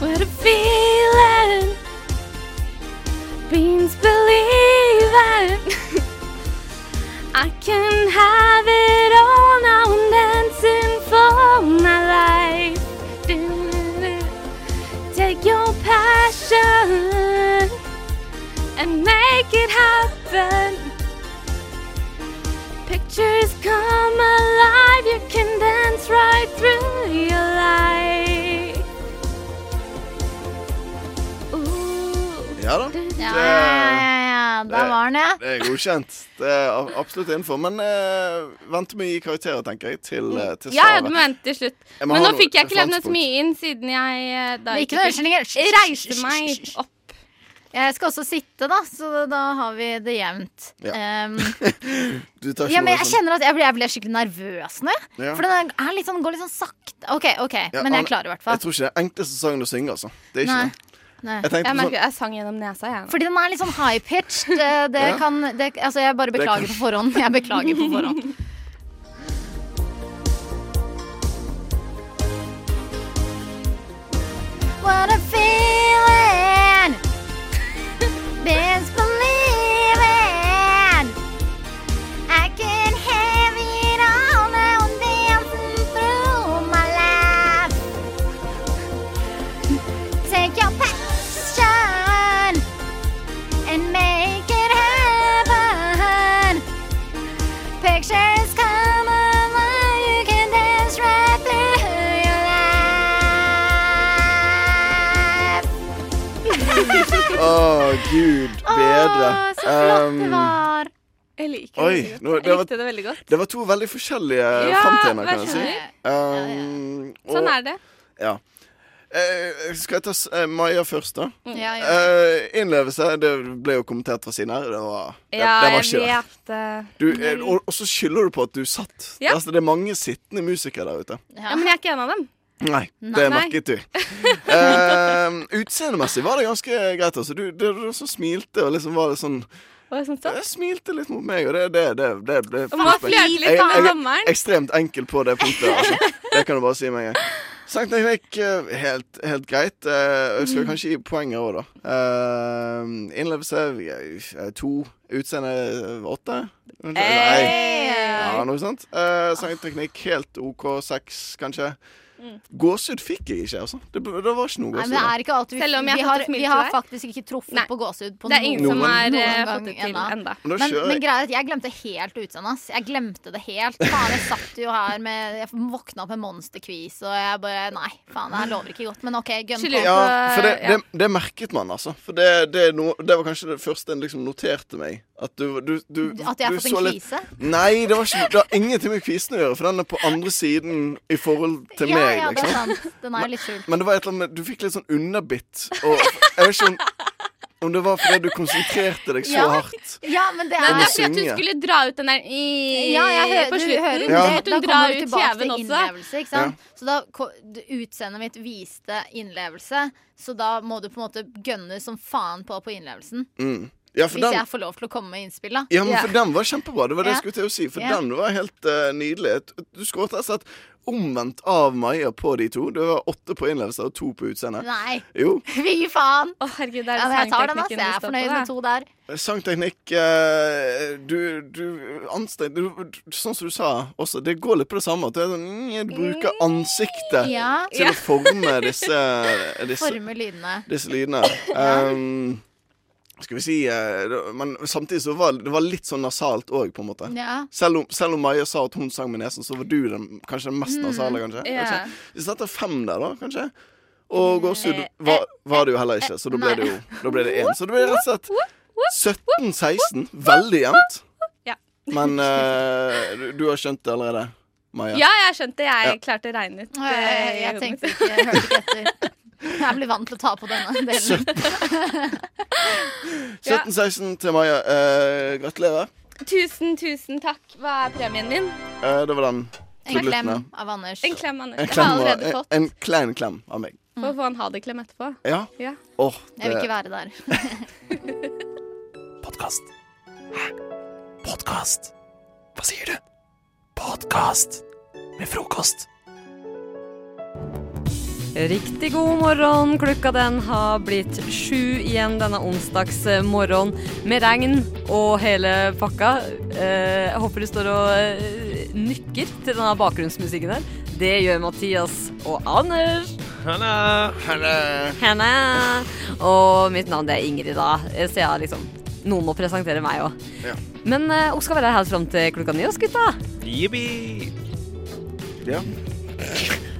[SPEAKER 3] What a feeling Beans believing I can have it all now I'm dancing for my life Take your passion And make it happen Pictures come alive You can dance right through your life Ooh.
[SPEAKER 2] Ja da.
[SPEAKER 4] Ja, ja, ja, ja. Da
[SPEAKER 2] Det-
[SPEAKER 4] var den, ja.
[SPEAKER 2] Det er godkjent. Det er a- absolutt innenfor. Men eh, vent med å gi karakterer, tenker jeg, til, eh, til
[SPEAKER 3] Ja, ja, du
[SPEAKER 2] Sara.
[SPEAKER 3] må vente til slutt.
[SPEAKER 2] Jeg
[SPEAKER 3] Men
[SPEAKER 2] må ha
[SPEAKER 3] nå
[SPEAKER 2] noe
[SPEAKER 3] fikk jeg ikke levnet så
[SPEAKER 2] referansepunkt.
[SPEAKER 3] mye inn siden jeg eh, da
[SPEAKER 4] Ikke noe
[SPEAKER 3] fikk-
[SPEAKER 4] unnskyldninger.
[SPEAKER 3] Jeg reiste meg opp.
[SPEAKER 4] Jeg skal også sitte, da, så da har vi det jevnt.
[SPEAKER 2] Ja.
[SPEAKER 4] Um,
[SPEAKER 2] Du tar ikke
[SPEAKER 4] ja, men
[SPEAKER 2] noe
[SPEAKER 4] jeg
[SPEAKER 2] sånn-
[SPEAKER 4] kjenner at jeg ble, jeg ble skikkelig nervøs nå. jeg.
[SPEAKER 2] Ja.
[SPEAKER 4] For den er litt sånn, går litt sånn sakte. OK, ok,
[SPEAKER 2] Ja,
[SPEAKER 4] men
[SPEAKER 2] Anne,
[SPEAKER 4] jeg klarer i hvert
[SPEAKER 2] Jeg
[SPEAKER 4] fall.
[SPEAKER 2] tror ikke det er enkleste sangen å synge, altså. Det er ikke
[SPEAKER 4] Nei.
[SPEAKER 2] det.
[SPEAKER 4] Nei.
[SPEAKER 2] Jeg tenkte
[SPEAKER 3] Jeg
[SPEAKER 2] på sånn
[SPEAKER 3] merker jeg sang gjennom nesa, jeg.
[SPEAKER 4] Fordi den er litt sånn high-pitched. eh, Det
[SPEAKER 2] Ja.
[SPEAKER 4] kan det, Altså, jeg bare
[SPEAKER 2] Det
[SPEAKER 4] beklager
[SPEAKER 2] kan-
[SPEAKER 4] på forhånd. Jeg beklager på forhånd. What a feeling Best believing I can have it all now I'm dancing through my life Take your passion and make it happen. Pictures come alive, you can dance right through your life.
[SPEAKER 2] Å, gud bedre.
[SPEAKER 4] Åh, så flott
[SPEAKER 3] Mm.
[SPEAKER 4] det
[SPEAKER 2] Um,
[SPEAKER 4] var.
[SPEAKER 3] Jeg liker
[SPEAKER 2] Oi,
[SPEAKER 3] det veldig
[SPEAKER 2] nå-
[SPEAKER 3] godt.
[SPEAKER 2] det
[SPEAKER 3] Jeg
[SPEAKER 2] var-
[SPEAKER 3] likte det veldig godt.
[SPEAKER 2] det var to veldig forskjellige
[SPEAKER 3] Ja,
[SPEAKER 2] framtredener, kan
[SPEAKER 3] hva
[SPEAKER 2] jeg si.
[SPEAKER 3] skjønner?
[SPEAKER 2] Um,
[SPEAKER 3] Sånn er det.
[SPEAKER 2] Ja. Eh, skal jeg ta s- eh, Maja først, da?
[SPEAKER 3] Mm.
[SPEAKER 4] Ja, ja.
[SPEAKER 2] Eh, innlevelse. Det ble jo kommentert fra siden her. Det var, det,
[SPEAKER 3] Ja,
[SPEAKER 2] det
[SPEAKER 3] jeg
[SPEAKER 2] var ikke det.
[SPEAKER 3] vet eh,
[SPEAKER 2] Du, eh, og, og så skylder du på at du satt.
[SPEAKER 3] Ja.
[SPEAKER 2] Altså, det er mange sittende musikere der ute.
[SPEAKER 3] Ja, men jeg er ikke en av dem.
[SPEAKER 2] Nei, det
[SPEAKER 3] Nei.
[SPEAKER 2] merket du. Eh, utseendemessig var det ganske greit. Altså. Du, du, du også smilte og liksom var litt sånn
[SPEAKER 3] Og jeg synes
[SPEAKER 2] Jeg smilte litt mot meg, og det, det, det, det ble
[SPEAKER 3] Og man
[SPEAKER 2] Jeg-
[SPEAKER 3] flørte
[SPEAKER 2] jeg
[SPEAKER 3] litt med
[SPEAKER 2] er
[SPEAKER 3] dommeren.
[SPEAKER 2] ekstremt enkel på det punktet. Altså. Det kan du bare si med en gang. Sankt Nick gikk eh, helt, helt greit. Eh, Jeg
[SPEAKER 4] Mhm.
[SPEAKER 2] skal kanskje gi poenger òg, da. Eh, innlevelse eh, to. Utseende eh, åtte?
[SPEAKER 4] Eh.
[SPEAKER 2] Nei. Ja,
[SPEAKER 3] Hey.
[SPEAKER 2] noe sånt.
[SPEAKER 4] Ah.
[SPEAKER 2] Eh, Sangteknikk helt OK, seks kanskje. Gåsehud fikk jeg ikke, altså. Det, ble- det var ikke noe
[SPEAKER 4] Mm. Nei, men det
[SPEAKER 2] gåsehud.
[SPEAKER 4] er ikke alt vi,
[SPEAKER 3] Selv om jeg
[SPEAKER 4] vi
[SPEAKER 3] har
[SPEAKER 4] har,
[SPEAKER 3] fått et smil
[SPEAKER 4] vi har
[SPEAKER 3] til deg.
[SPEAKER 4] faktisk ikke truffet
[SPEAKER 3] Nei.
[SPEAKER 4] på gåsehud på
[SPEAKER 3] Det er ingen som
[SPEAKER 2] Noen-
[SPEAKER 3] har eh,
[SPEAKER 4] noen
[SPEAKER 3] fått det
[SPEAKER 4] gang
[SPEAKER 3] til
[SPEAKER 4] ennå.
[SPEAKER 3] enda.
[SPEAKER 2] Men da
[SPEAKER 4] Men,
[SPEAKER 2] kjører
[SPEAKER 4] men
[SPEAKER 2] jeg.
[SPEAKER 4] greia er at jeg glemte helt utseendet hans. Jeg glemte det helt. Faen, jeg satt jo her med Jeg våkna opp med monsterquiz, og jeg bare Nei, faen, det her lover ikke godt. Men OK, gønn
[SPEAKER 3] Skyld
[SPEAKER 4] på.
[SPEAKER 3] ut.
[SPEAKER 2] Ja,
[SPEAKER 3] på-
[SPEAKER 2] for det,
[SPEAKER 3] ja.
[SPEAKER 2] det, det merket man, altså. For det, det, er noe- det var kanskje det første en liksom noterte meg. At du, du, du
[SPEAKER 4] At jeg har
[SPEAKER 2] du
[SPEAKER 4] fått
[SPEAKER 2] så
[SPEAKER 4] en
[SPEAKER 2] litt-
[SPEAKER 4] kvise?
[SPEAKER 2] Nei, det, var ikke, det har ingenting med kvisen å gjøre, for den er på andre siden i forhold til
[SPEAKER 4] Ja,
[SPEAKER 2] meg.
[SPEAKER 4] ja, det er
[SPEAKER 2] liksom.
[SPEAKER 4] sant. Den er jo litt skjult.
[SPEAKER 2] Men det var et eller annet med Du fikk litt sånn underbitt. Og jeg vet ikke om, om det var fordi du konsentrerte deg så
[SPEAKER 4] Ja.
[SPEAKER 2] hardt.
[SPEAKER 4] Ja, men det
[SPEAKER 3] Nei,
[SPEAKER 4] er
[SPEAKER 3] det
[SPEAKER 2] må
[SPEAKER 3] er fordi at hun
[SPEAKER 2] synge.
[SPEAKER 3] skulle dra ut den der i-
[SPEAKER 4] ja, jeg hører,
[SPEAKER 3] på
[SPEAKER 4] du hører
[SPEAKER 3] slutten.
[SPEAKER 4] det.
[SPEAKER 2] Ja.
[SPEAKER 3] At
[SPEAKER 4] Da
[SPEAKER 3] hun
[SPEAKER 4] kommer
[SPEAKER 3] drar
[SPEAKER 4] du
[SPEAKER 3] ut
[SPEAKER 4] tilbake til
[SPEAKER 3] kjeven også.
[SPEAKER 4] innlevelse. Ikke sant? Så da ko- d- utseendet mitt viste innlevelse, så da må du på en måte gønne som faen på på innlevelsen.
[SPEAKER 2] Mm. Ja, for
[SPEAKER 4] Hvis
[SPEAKER 2] den,
[SPEAKER 4] jeg får lov til å komme med innspill, da.
[SPEAKER 2] ja, men
[SPEAKER 3] Ja.
[SPEAKER 2] for den var kjempebra. Det var det jeg
[SPEAKER 4] Ja.
[SPEAKER 2] skulle til å si. For
[SPEAKER 4] Ja.
[SPEAKER 2] den var helt eh, nydelig. Du skåret rett og slett omvendt av Maja på de to. Det var åtte på innlevelse og to på utseende.
[SPEAKER 4] Nei,
[SPEAKER 2] Jo.
[SPEAKER 4] fy faen!
[SPEAKER 3] Å, herregud, det er
[SPEAKER 4] Ja, men jeg tar den,
[SPEAKER 3] sangteknikken
[SPEAKER 4] altså. Jeg
[SPEAKER 3] det
[SPEAKER 4] er
[SPEAKER 3] står
[SPEAKER 4] fornøyd
[SPEAKER 3] på, da.
[SPEAKER 4] med to der.
[SPEAKER 2] Sangteknikk eh, Du, du anstreng du, du- Sånn som du sa også, det går litt på det samme. At det er sånn, mm, du bruker ansiktet
[SPEAKER 4] Ja.
[SPEAKER 2] til å forme disse, disse,
[SPEAKER 4] Forme lydene.
[SPEAKER 2] disse lydene. Um, skal vi si eh, det- Men samtidig så var det var litt sånn nasalt òg, på en måte.
[SPEAKER 4] Ja.
[SPEAKER 2] Selv om, selv om Maja sa at hun sang med nesen, så var du den, kanskje den mest nasale, kanskje. Jeg
[SPEAKER 3] Mm,
[SPEAKER 2] vet
[SPEAKER 3] ja.
[SPEAKER 2] ikke. Vi setter fem der, da, kanskje. Og gåsehud
[SPEAKER 3] eh,
[SPEAKER 2] var, var det jo heller ikke, så da ble det jo Da ble det én. Så det ble rett og slett 17-16. Veldig jevnt.
[SPEAKER 3] Ja.
[SPEAKER 2] Men eh, du, du har skjønt det allerede? Maja?
[SPEAKER 3] Ja, jeg skjønte det. Jeg
[SPEAKER 2] Ja.
[SPEAKER 3] klarte å regne ut
[SPEAKER 4] Jeg, jeg,
[SPEAKER 3] eh, i
[SPEAKER 4] jeg
[SPEAKER 3] hodet
[SPEAKER 4] tenkte ikke, jeg hørte ikke etter. Jeg blir vant til å ta på denne delen.
[SPEAKER 2] 17-16 til Maja. Eh, gratulerer.
[SPEAKER 3] mitt. Tusen, tusen takk. Hva er premien min?
[SPEAKER 2] Eh, det var den.
[SPEAKER 4] En
[SPEAKER 2] Til
[SPEAKER 4] klem
[SPEAKER 2] lytterne.
[SPEAKER 4] av Anders.
[SPEAKER 3] En klem, Anders.
[SPEAKER 2] En
[SPEAKER 3] Jeg har
[SPEAKER 2] klem, var-
[SPEAKER 3] allerede
[SPEAKER 2] en,
[SPEAKER 3] fått.
[SPEAKER 2] en klein klem av meg.
[SPEAKER 3] Få få en ha det-klem etterpå.
[SPEAKER 2] Ja.
[SPEAKER 3] Ja.
[SPEAKER 2] Åh,
[SPEAKER 4] Jeg vil
[SPEAKER 2] det-
[SPEAKER 4] ikke være der.
[SPEAKER 1] Podkast. Hæ? Podkast? Hva sier du? Podkast med frokost.
[SPEAKER 7] Riktig god morgen. Klokka den har blitt sju igjen denne onsdags morgen med regn og hele pakka. Eh, Jeg håper du står og eh, nikker til denne bakgrunnsmusikken her. Det gjør Mathias og Anders. Henne. Og mitt navn det er Ingrid, da. Så jeg har liksom Noen må presentere meg òg.
[SPEAKER 2] Ja.
[SPEAKER 7] Men eh, hun skal være her fram til klokka ni oss, gutta.
[SPEAKER 1] Jippi.
[SPEAKER 2] Ja.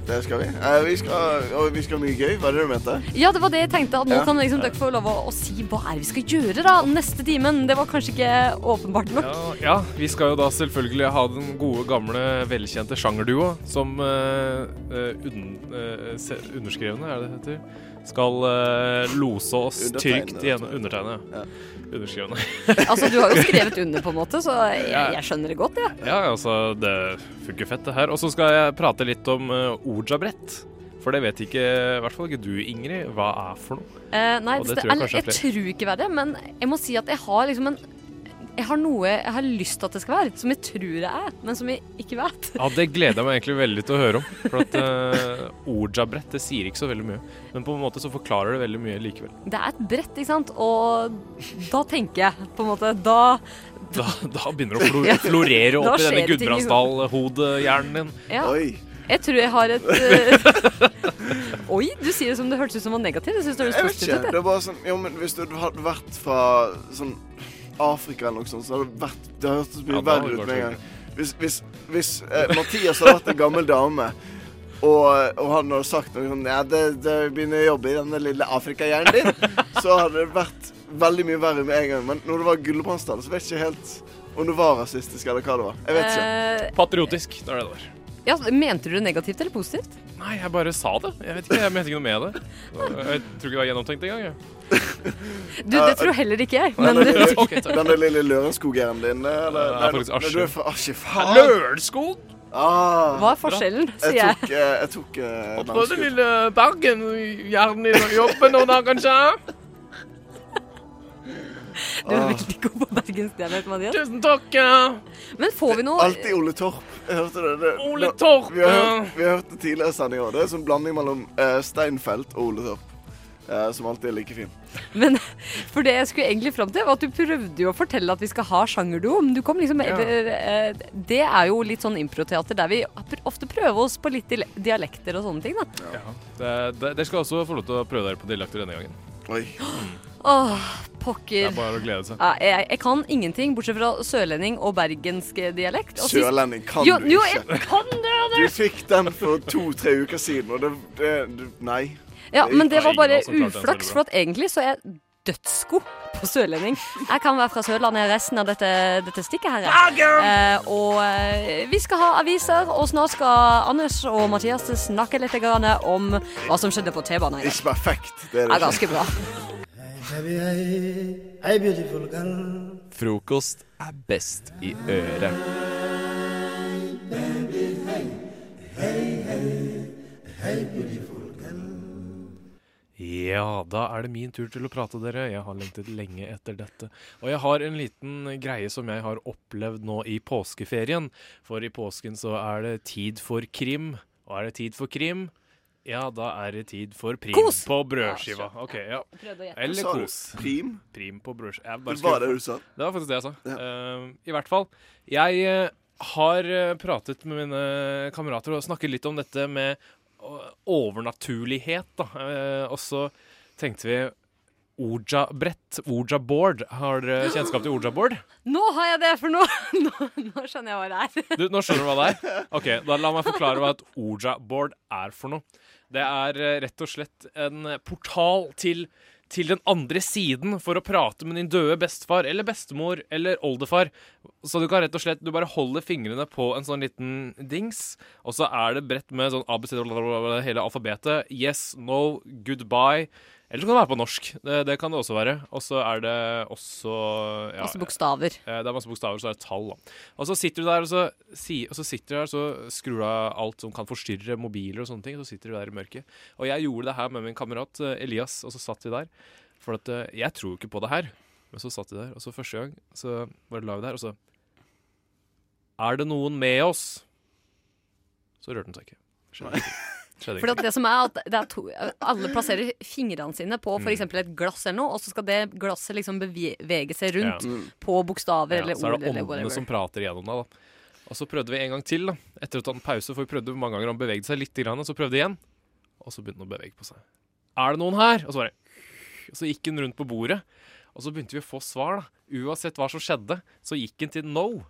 [SPEAKER 2] Det skal vi. Eh, vi, skal, og vi skal ha mye gøy. Hva er det du mente?
[SPEAKER 7] Ja, det var det jeg tenkte. At nå
[SPEAKER 2] Ja.
[SPEAKER 7] kan liksom dere få lov å, å si hva er det vi skal gjøre da neste timen. Det var kanskje ikke åpenbart nok.
[SPEAKER 8] Ja, ja, vi skal jo da selvfølgelig ha den gode, gamle, velkjente sjangerduoa som eh, eh, unn- eh, se- underskrevne, er det det heter, skal eh, lose oss
[SPEAKER 2] Undertegne,
[SPEAKER 8] trygt igjennom.
[SPEAKER 2] altså.
[SPEAKER 8] Undertegne.
[SPEAKER 2] Ja.
[SPEAKER 8] Ja. Underskrevne.
[SPEAKER 7] Altså, Du har jo skrevet under, på en måte, så jeg,
[SPEAKER 8] Ja.
[SPEAKER 7] jeg skjønner det godt. Ja.
[SPEAKER 8] Ja, altså, det funker fett, det her. Og så skal jeg prate litt om uh, orjabrett. For det vet ikke, i hvert fall ikke du, Ingrid, hva er for noe.
[SPEAKER 7] Eh, nei,
[SPEAKER 8] Og
[SPEAKER 7] det,
[SPEAKER 8] det tror jeg
[SPEAKER 7] eller,
[SPEAKER 8] kanskje
[SPEAKER 7] jeg
[SPEAKER 8] er
[SPEAKER 7] tror ikke verre, men jeg må si at jeg har liksom en jeg har noe jeg har lyst til at det skal være, som jeg tror det er, men som jeg ikke vet.
[SPEAKER 8] Ja, det gleder jeg meg egentlig veldig til å høre om. For at uh, orjabrett, det sier ikke så veldig mye. Men på en måte så forklarer det veldig mye likevel.
[SPEAKER 7] Det er et brett, ikke sant? Og da tenker jeg, på en måte Da
[SPEAKER 8] Da, da begynner det å flo- florere
[SPEAKER 7] Da
[SPEAKER 8] opp i denne
[SPEAKER 7] skjer det ting, liksom.
[SPEAKER 8] Gudbrandsdal-hodehjernen din.
[SPEAKER 7] Ja.
[SPEAKER 2] Oi.
[SPEAKER 7] Jeg tror jeg har et eh, Oi, du sier det som det hørtes ut som var negativt. Jeg synes det
[SPEAKER 2] Jeg
[SPEAKER 7] høres
[SPEAKER 2] vet
[SPEAKER 7] positivt
[SPEAKER 2] ikke.
[SPEAKER 7] ut.
[SPEAKER 2] Det
[SPEAKER 7] jeg.
[SPEAKER 2] er bare sånn Jo, men hvis du hadde vært fra sånn Afrika eller noe sånt, så hadde det vært Det hadde hørtes mye
[SPEAKER 8] Ja, da hadde
[SPEAKER 2] verre
[SPEAKER 8] det
[SPEAKER 2] ut
[SPEAKER 8] vært
[SPEAKER 2] med en
[SPEAKER 8] verre.
[SPEAKER 2] gang. Hvis, hvis, hvis eh, Mathias hadde vært en gammel dame og, eh, og han hadde sagt noe sånn Ja, det, det begynner å jobbe i denne lille Afrikahjernen din. Så hadde det vært veldig mye verre med en gang. Men når det var Gulbrandsdal, så vet jeg ikke helt om det var rasistisk eller hva det var. Jeg vet ikke.
[SPEAKER 7] Eh,
[SPEAKER 8] Patriotisk. Det er det det var.
[SPEAKER 7] ja, mente du det negativt eller positivt?
[SPEAKER 8] Nei, jeg bare sa det. Jeg vet ikke, jeg mente ikke noe med det. Jeg tror ikke det var gjennomtenkt engang. jeg.
[SPEAKER 7] Du, Det tror heller ikke jeg. Men
[SPEAKER 2] Den lille-
[SPEAKER 8] Ok, takk.
[SPEAKER 2] den lille Lørenskog-hjernen din, eh, eller?
[SPEAKER 8] Jeg er
[SPEAKER 2] nei,
[SPEAKER 8] faktisk
[SPEAKER 2] nei,
[SPEAKER 8] Askim.
[SPEAKER 2] Du er fra Askim. Faen!
[SPEAKER 8] Lørenskog!
[SPEAKER 2] Ah.
[SPEAKER 7] hva er forskjellen, sier
[SPEAKER 2] Jeg
[SPEAKER 7] jeg.
[SPEAKER 2] tok, eh, jeg tok eh,
[SPEAKER 8] Prøv den
[SPEAKER 2] landskudd.
[SPEAKER 8] lille bagen hjernen din å jobbe noen dager, kanskje.
[SPEAKER 7] Du er
[SPEAKER 2] Ah.
[SPEAKER 7] veldig god på bergensdialekt, Mathias.
[SPEAKER 8] Tusen takk. ja.
[SPEAKER 7] Men får vi noe
[SPEAKER 2] Alltid Ole Torp. Jeg hørte det. det
[SPEAKER 8] Ole
[SPEAKER 2] nå-
[SPEAKER 8] Torp,
[SPEAKER 2] Vi har
[SPEAKER 8] ja.
[SPEAKER 2] hørt, vi har hørt det tidligere i sendinga. Det er en sånn blanding mellom eh, Steinfeld og Ole Torp. eh, som alltid er like fin.
[SPEAKER 7] Men for det jeg skulle egentlig fram til, var at du prøvde jo å fortelle at vi skal ha sjangerduo. Men du kom liksom med
[SPEAKER 8] Ja.
[SPEAKER 7] eh, Det er jo litt sånn improteater der vi pr- ofte prøver oss på litt dile- dialekter og sånne ting, da.
[SPEAKER 8] Det- det- Dere skal også få lov til å prøve dere på dialekter denne gangen.
[SPEAKER 2] Oi.
[SPEAKER 7] Åh,
[SPEAKER 8] Det
[SPEAKER 7] pokker.
[SPEAKER 8] er bare å glede seg.
[SPEAKER 7] Ja, jeg, jeg kan ingenting, bortsett fra sørlending og bergensk dialekt. Og sist-
[SPEAKER 2] Sørlending kan
[SPEAKER 7] jo,
[SPEAKER 2] du
[SPEAKER 7] jo,
[SPEAKER 2] ikke.
[SPEAKER 7] jeg kan det! Anne.
[SPEAKER 2] Du fikk den for to-tre uker siden, og det, det du, Nei.
[SPEAKER 7] Ja, men det var
[SPEAKER 8] Ingen
[SPEAKER 7] bare
[SPEAKER 8] av oss som klarte den
[SPEAKER 7] uflaks,
[SPEAKER 8] så
[SPEAKER 7] for
[SPEAKER 8] bra.
[SPEAKER 7] at egentlig så er jeg dødsgod på sørlending. Jeg kan være fra Sørlandet resten av dette, dette stikket her. Eh, og eh, vi skal ha aviser, og snart skal Anders og Mathias snakke litt grann om hva som skjedde på T-banen. i dag.
[SPEAKER 2] Ikke perfekt. Det
[SPEAKER 7] Det
[SPEAKER 2] er
[SPEAKER 7] er
[SPEAKER 2] det ikke.
[SPEAKER 7] ganske bra.
[SPEAKER 1] Frokost er best i øret.
[SPEAKER 8] Ja, da er det min tur til å prate, dere. Jeg har lengtet lenge etter dette. Og jeg har en liten greie som jeg har opplevd nå i påskeferien. For i påsken så er det tid for krim. Og er det tid for krim, ja, da er det tid for prim
[SPEAKER 7] Kos!
[SPEAKER 8] på brødskiva. Ok, ja. Eller
[SPEAKER 2] Sa du
[SPEAKER 8] kos.
[SPEAKER 2] prim?
[SPEAKER 8] Prim på brødskiva. Jeg
[SPEAKER 2] Det
[SPEAKER 8] bare
[SPEAKER 2] var
[SPEAKER 8] skulle-
[SPEAKER 2] det du sa.
[SPEAKER 8] det var faktisk det jeg sa. Eh, I hvert fall. Jeg eh, har eh, pratet med mine kamerater og snakket litt om dette med eh, overnaturlighet, da. Eh, og så tenkte vi Oja-brett, Oja-board. Har dere kjennskap til Oja-board?
[SPEAKER 7] Nå har jeg det, for nå, nå, nå skjønner jeg hva det er.
[SPEAKER 8] Du, nå skjønner du hva det er? Ok, da La meg forklare hva et Oja-board er for noe. Det er eh, rett og slett en portal til til den andre siden for å prate med din døde bestefar eller bestemor eller oldefar. Så du kan rett og slett Du bare holder fingrene på en sånn liten dings, og så er det bredt med sånn ABC, bla, bla, bla, hele alfabetet. Yes, no, goodbye. Eller så kan det være på norsk. Det, det kan det også være. Og så er det også ja,
[SPEAKER 7] Masse bokstaver.
[SPEAKER 8] Eh, Det er masse bokstaver, så er det tall. Da. Og så sitter du der, og så, si, og så sitter du der, så skrur du av alt som kan forstyrre mobiler og sånne ting. og Så sitter du der i mørket. Og jeg gjorde det her med min kamerat eh, Elias, og så satt vi der. For at eh, jeg tror jo ikke på det her. Men så satt vi der, og så første gang så var det live der, og så Er det noen med oss? Så rørte den seg ikke. Skjedde ikke. Skjedde
[SPEAKER 7] Fordi
[SPEAKER 8] ikke.
[SPEAKER 7] at det som er at det er to, Alle plasserer fingrene sine på
[SPEAKER 8] Mm.
[SPEAKER 7] for eksempel et glass, eller noe og så skal det glasset liksom bevege seg
[SPEAKER 8] Ja.
[SPEAKER 7] rundt på bokstaver
[SPEAKER 8] Ja,
[SPEAKER 7] eller
[SPEAKER 8] så er
[SPEAKER 7] ord.
[SPEAKER 8] det
[SPEAKER 7] Eller
[SPEAKER 8] åndene
[SPEAKER 7] whatever.
[SPEAKER 8] som prater gjennom deg, da. Og så prøvde vi en gang til, da. etter å ta en pause, for vi prøvde mange ganger, han bevegde seg litt, grann, og så prøvde igjen. Og så begynte han å bevege på seg. Er det noen her? Og så bare og Så gikk han rundt på bordet, og så begynte vi å få svar, da. Uansett hva som skjedde, så gikk han til no.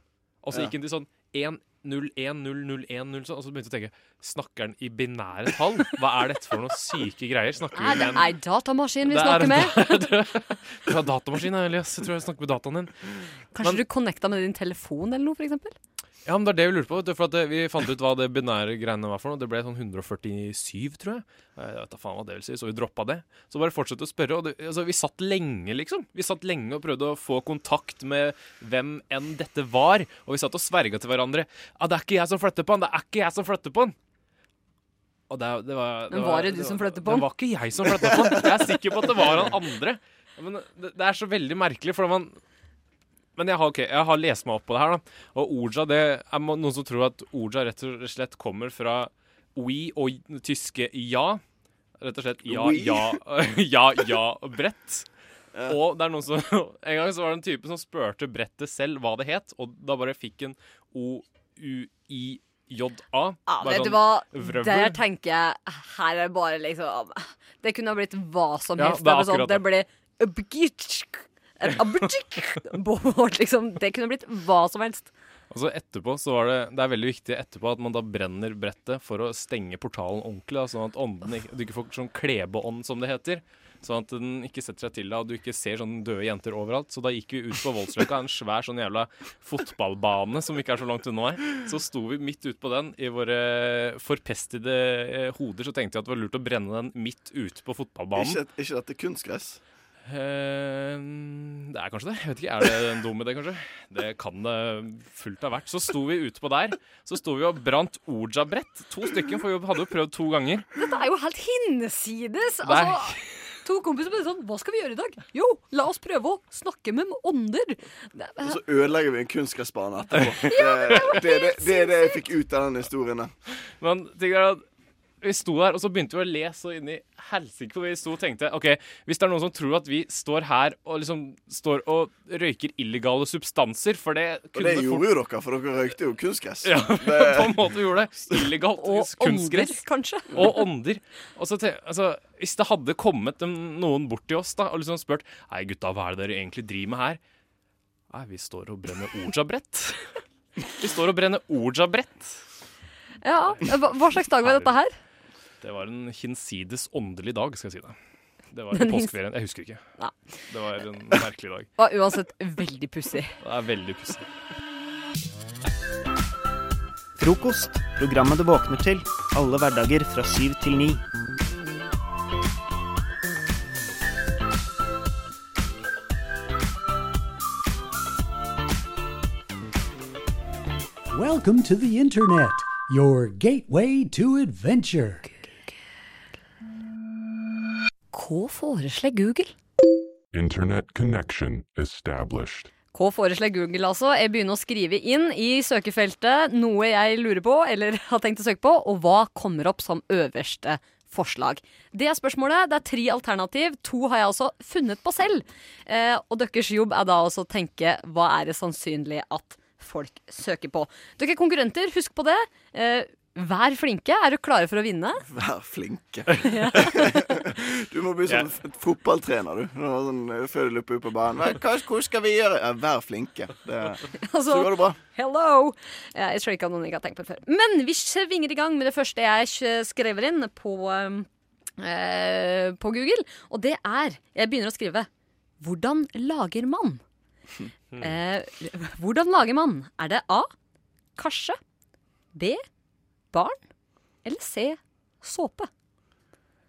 [SPEAKER 8] Og så
[SPEAKER 2] Ja.
[SPEAKER 8] gikk han til sånn 1 0, 1, 0, 0, 1, 0, sånn, og så begynte jeg å tenke Snakker han i binære tall? Hva er dette for noen syke greier? Snakker vi
[SPEAKER 7] Er det
[SPEAKER 8] med en-
[SPEAKER 7] ei datamaskin vi
[SPEAKER 8] Det er-
[SPEAKER 7] snakker med?
[SPEAKER 8] Du har datamaskin, Elias. Jeg tror jeg snakker med dataen din.
[SPEAKER 7] Kanskje
[SPEAKER 8] Men-
[SPEAKER 7] du connecta med din telefon eller noe, for eksempel?
[SPEAKER 8] Ja, men det er det vi lurte på. vet du, For at det, vi fant ut hva det binære greiene var for noe. Det ble sånn 147, tror jeg. Jeg vet da faen hva det vil si, så vi droppa det. Så bare fortsette å spørre. Og det, altså, vi satt lenge, liksom. Vi satt lenge og prøvde å få kontakt med hvem enn dette var. Og vi satt og sverga til hverandre. Ja, det er ikke jeg som flytter på han! Det er ikke jeg som flytter på han! Og det, det var,
[SPEAKER 7] Men var det du som flyttet på han?
[SPEAKER 8] Det var ikke jeg som flytta på han. Jeg er sikker på at det var han andre. Men det, det er så veldig merkelig, for man men jeg har, ok, jeg har lest meg opp på det her, da. Og Orja, det er mo- noen som tror at Orja rett og slett kommer fra we og j- tyske ja. Rett og slett ja,
[SPEAKER 2] We?
[SPEAKER 8] ja, ja, ja, brett. Og det er noen som En gang så var det en type som spurte brettet selv hva det het, og da bare fikk en O-U-I-J-A.
[SPEAKER 7] Ja,
[SPEAKER 8] Bare
[SPEAKER 7] Ah, vet du
[SPEAKER 8] sånn,
[SPEAKER 7] hva?
[SPEAKER 8] vrøvl.
[SPEAKER 7] Der tenker jeg Her er bare liksom Det kunne ha blitt hva som
[SPEAKER 8] Ja,
[SPEAKER 7] helst.
[SPEAKER 8] det er
[SPEAKER 7] det, sånn,
[SPEAKER 8] akkurat
[SPEAKER 7] det ble abgitsk, en abgitsk båt, liksom. Det kunne blitt hva som helst.
[SPEAKER 8] Og så Altså, etterpå så var det Det er veldig viktig etterpå at man da brenner brettet for å stenge portalen ordentlig, da, sånn at ånden ikke, du ikke får sånn klebeånd, som det heter. Sånn at den ikke setter seg til deg, og du ikke ser sånne døde jenter overalt. Så da gikk vi ut på Voldsløkka, en svær sånn jævla fotballbane som ikke er så langt unna her. Så sto vi midt ute på den i våre forpestede eh, hoder, så tenkte jeg at det var lurt å brenne den midt ute på fotballbanen.
[SPEAKER 2] Ikke, ikke dette kunstgress?
[SPEAKER 8] Eh, Det er kanskje det. Jeg vet ikke, Er det en dum idé, kanskje? Det kan det fullt ha vært. Så sto vi ute på der. Så sto vi og brant Orja-brett. To stykker, for vi hadde jo prøvd to ganger.
[SPEAKER 7] Dette er jo helt hinsides!
[SPEAKER 8] Nei.
[SPEAKER 7] Altså, to kompiser ble sånn Hva skal vi gjøre i dag? Jo, la oss prøve å snakke med ånder. Det,
[SPEAKER 2] Og så ødelegger vi en kunstgressbane etterpå. Det, det, det, det er det jeg fikk ut av den historien. der.
[SPEAKER 8] Men ting er at vi sto der, og så begynte vi å le så inn i helsike. For vi sto og tenkte OK, hvis det er noen som tror at vi står her og liksom står og røyker illegale substanser, for det
[SPEAKER 2] Og
[SPEAKER 8] kunne det
[SPEAKER 2] det
[SPEAKER 8] fort
[SPEAKER 2] gjorde jo dere, for dere røykte jo kunstgress.
[SPEAKER 8] ja,
[SPEAKER 2] Det,
[SPEAKER 8] på en måte vi gjorde det. Illegalt
[SPEAKER 7] og ånder,
[SPEAKER 8] kunstgress.
[SPEAKER 7] kanskje.
[SPEAKER 8] og ånder. Og så te- altså, hvis det hadde kommet dem- noen bort til oss da, og liksom spurt Nei, gutta, hva er det dere egentlig driver med her? Nei, vi står og brenner orjabrett. Vi står og brenner orjabrett.
[SPEAKER 7] Ja, hva, hva slags dag var dette her?
[SPEAKER 8] Det var en hinsides åndelig dag, skal jeg si deg. Det var i
[SPEAKER 7] Den hins-
[SPEAKER 8] påskeferien. Jeg husker ikke.
[SPEAKER 7] Nei.
[SPEAKER 8] Det var en merkelig dag.
[SPEAKER 7] Var uansett veldig pussig.
[SPEAKER 8] Det er veldig pussig.
[SPEAKER 9] Frokost. Programmet du våkner til. Alle hverdager fra syv til ni.
[SPEAKER 10] Welcome to the internet, your gateway to adventure.
[SPEAKER 7] Hva foreslår Google?
[SPEAKER 11] Internet connection established.
[SPEAKER 7] Hva foreslår Google, altså? Jeg begynner å skrive inn i søkefeltet noe jeg lurer på, eller har tenkt å søke på, og hva kommer opp som øverste forslag? Det er spørsmålet. Det er tre alternativ. To har jeg altså funnet på selv. Eh, og deres jobb er da altså å tenke hva er det sannsynlig at folk søker på. Dere er konkurrenter, husk på det. Eh, vær flinke. Er dere klare for å vinne?
[SPEAKER 2] vær flinke. Du må bli sånn f- fotballtrener, du. Nå, Sånn, eh, før du løper ut på banen. Hva, hva hva skal vi gjøre? Ja, vær flinke. Det,
[SPEAKER 7] Altså-
[SPEAKER 2] så går det bra.
[SPEAKER 7] Hello! Ja, Jeg tror ikke at noen ikke har tenkt på det før. Men vi svinger i gang med det første jeg sk- skriver inn på um, eh, på Google, og det er Jeg begynner å skrive 'Hvordan lager man'? Eh, hvordan lager man? Er det A. Karse. B. Barn. Eller C. Såpe.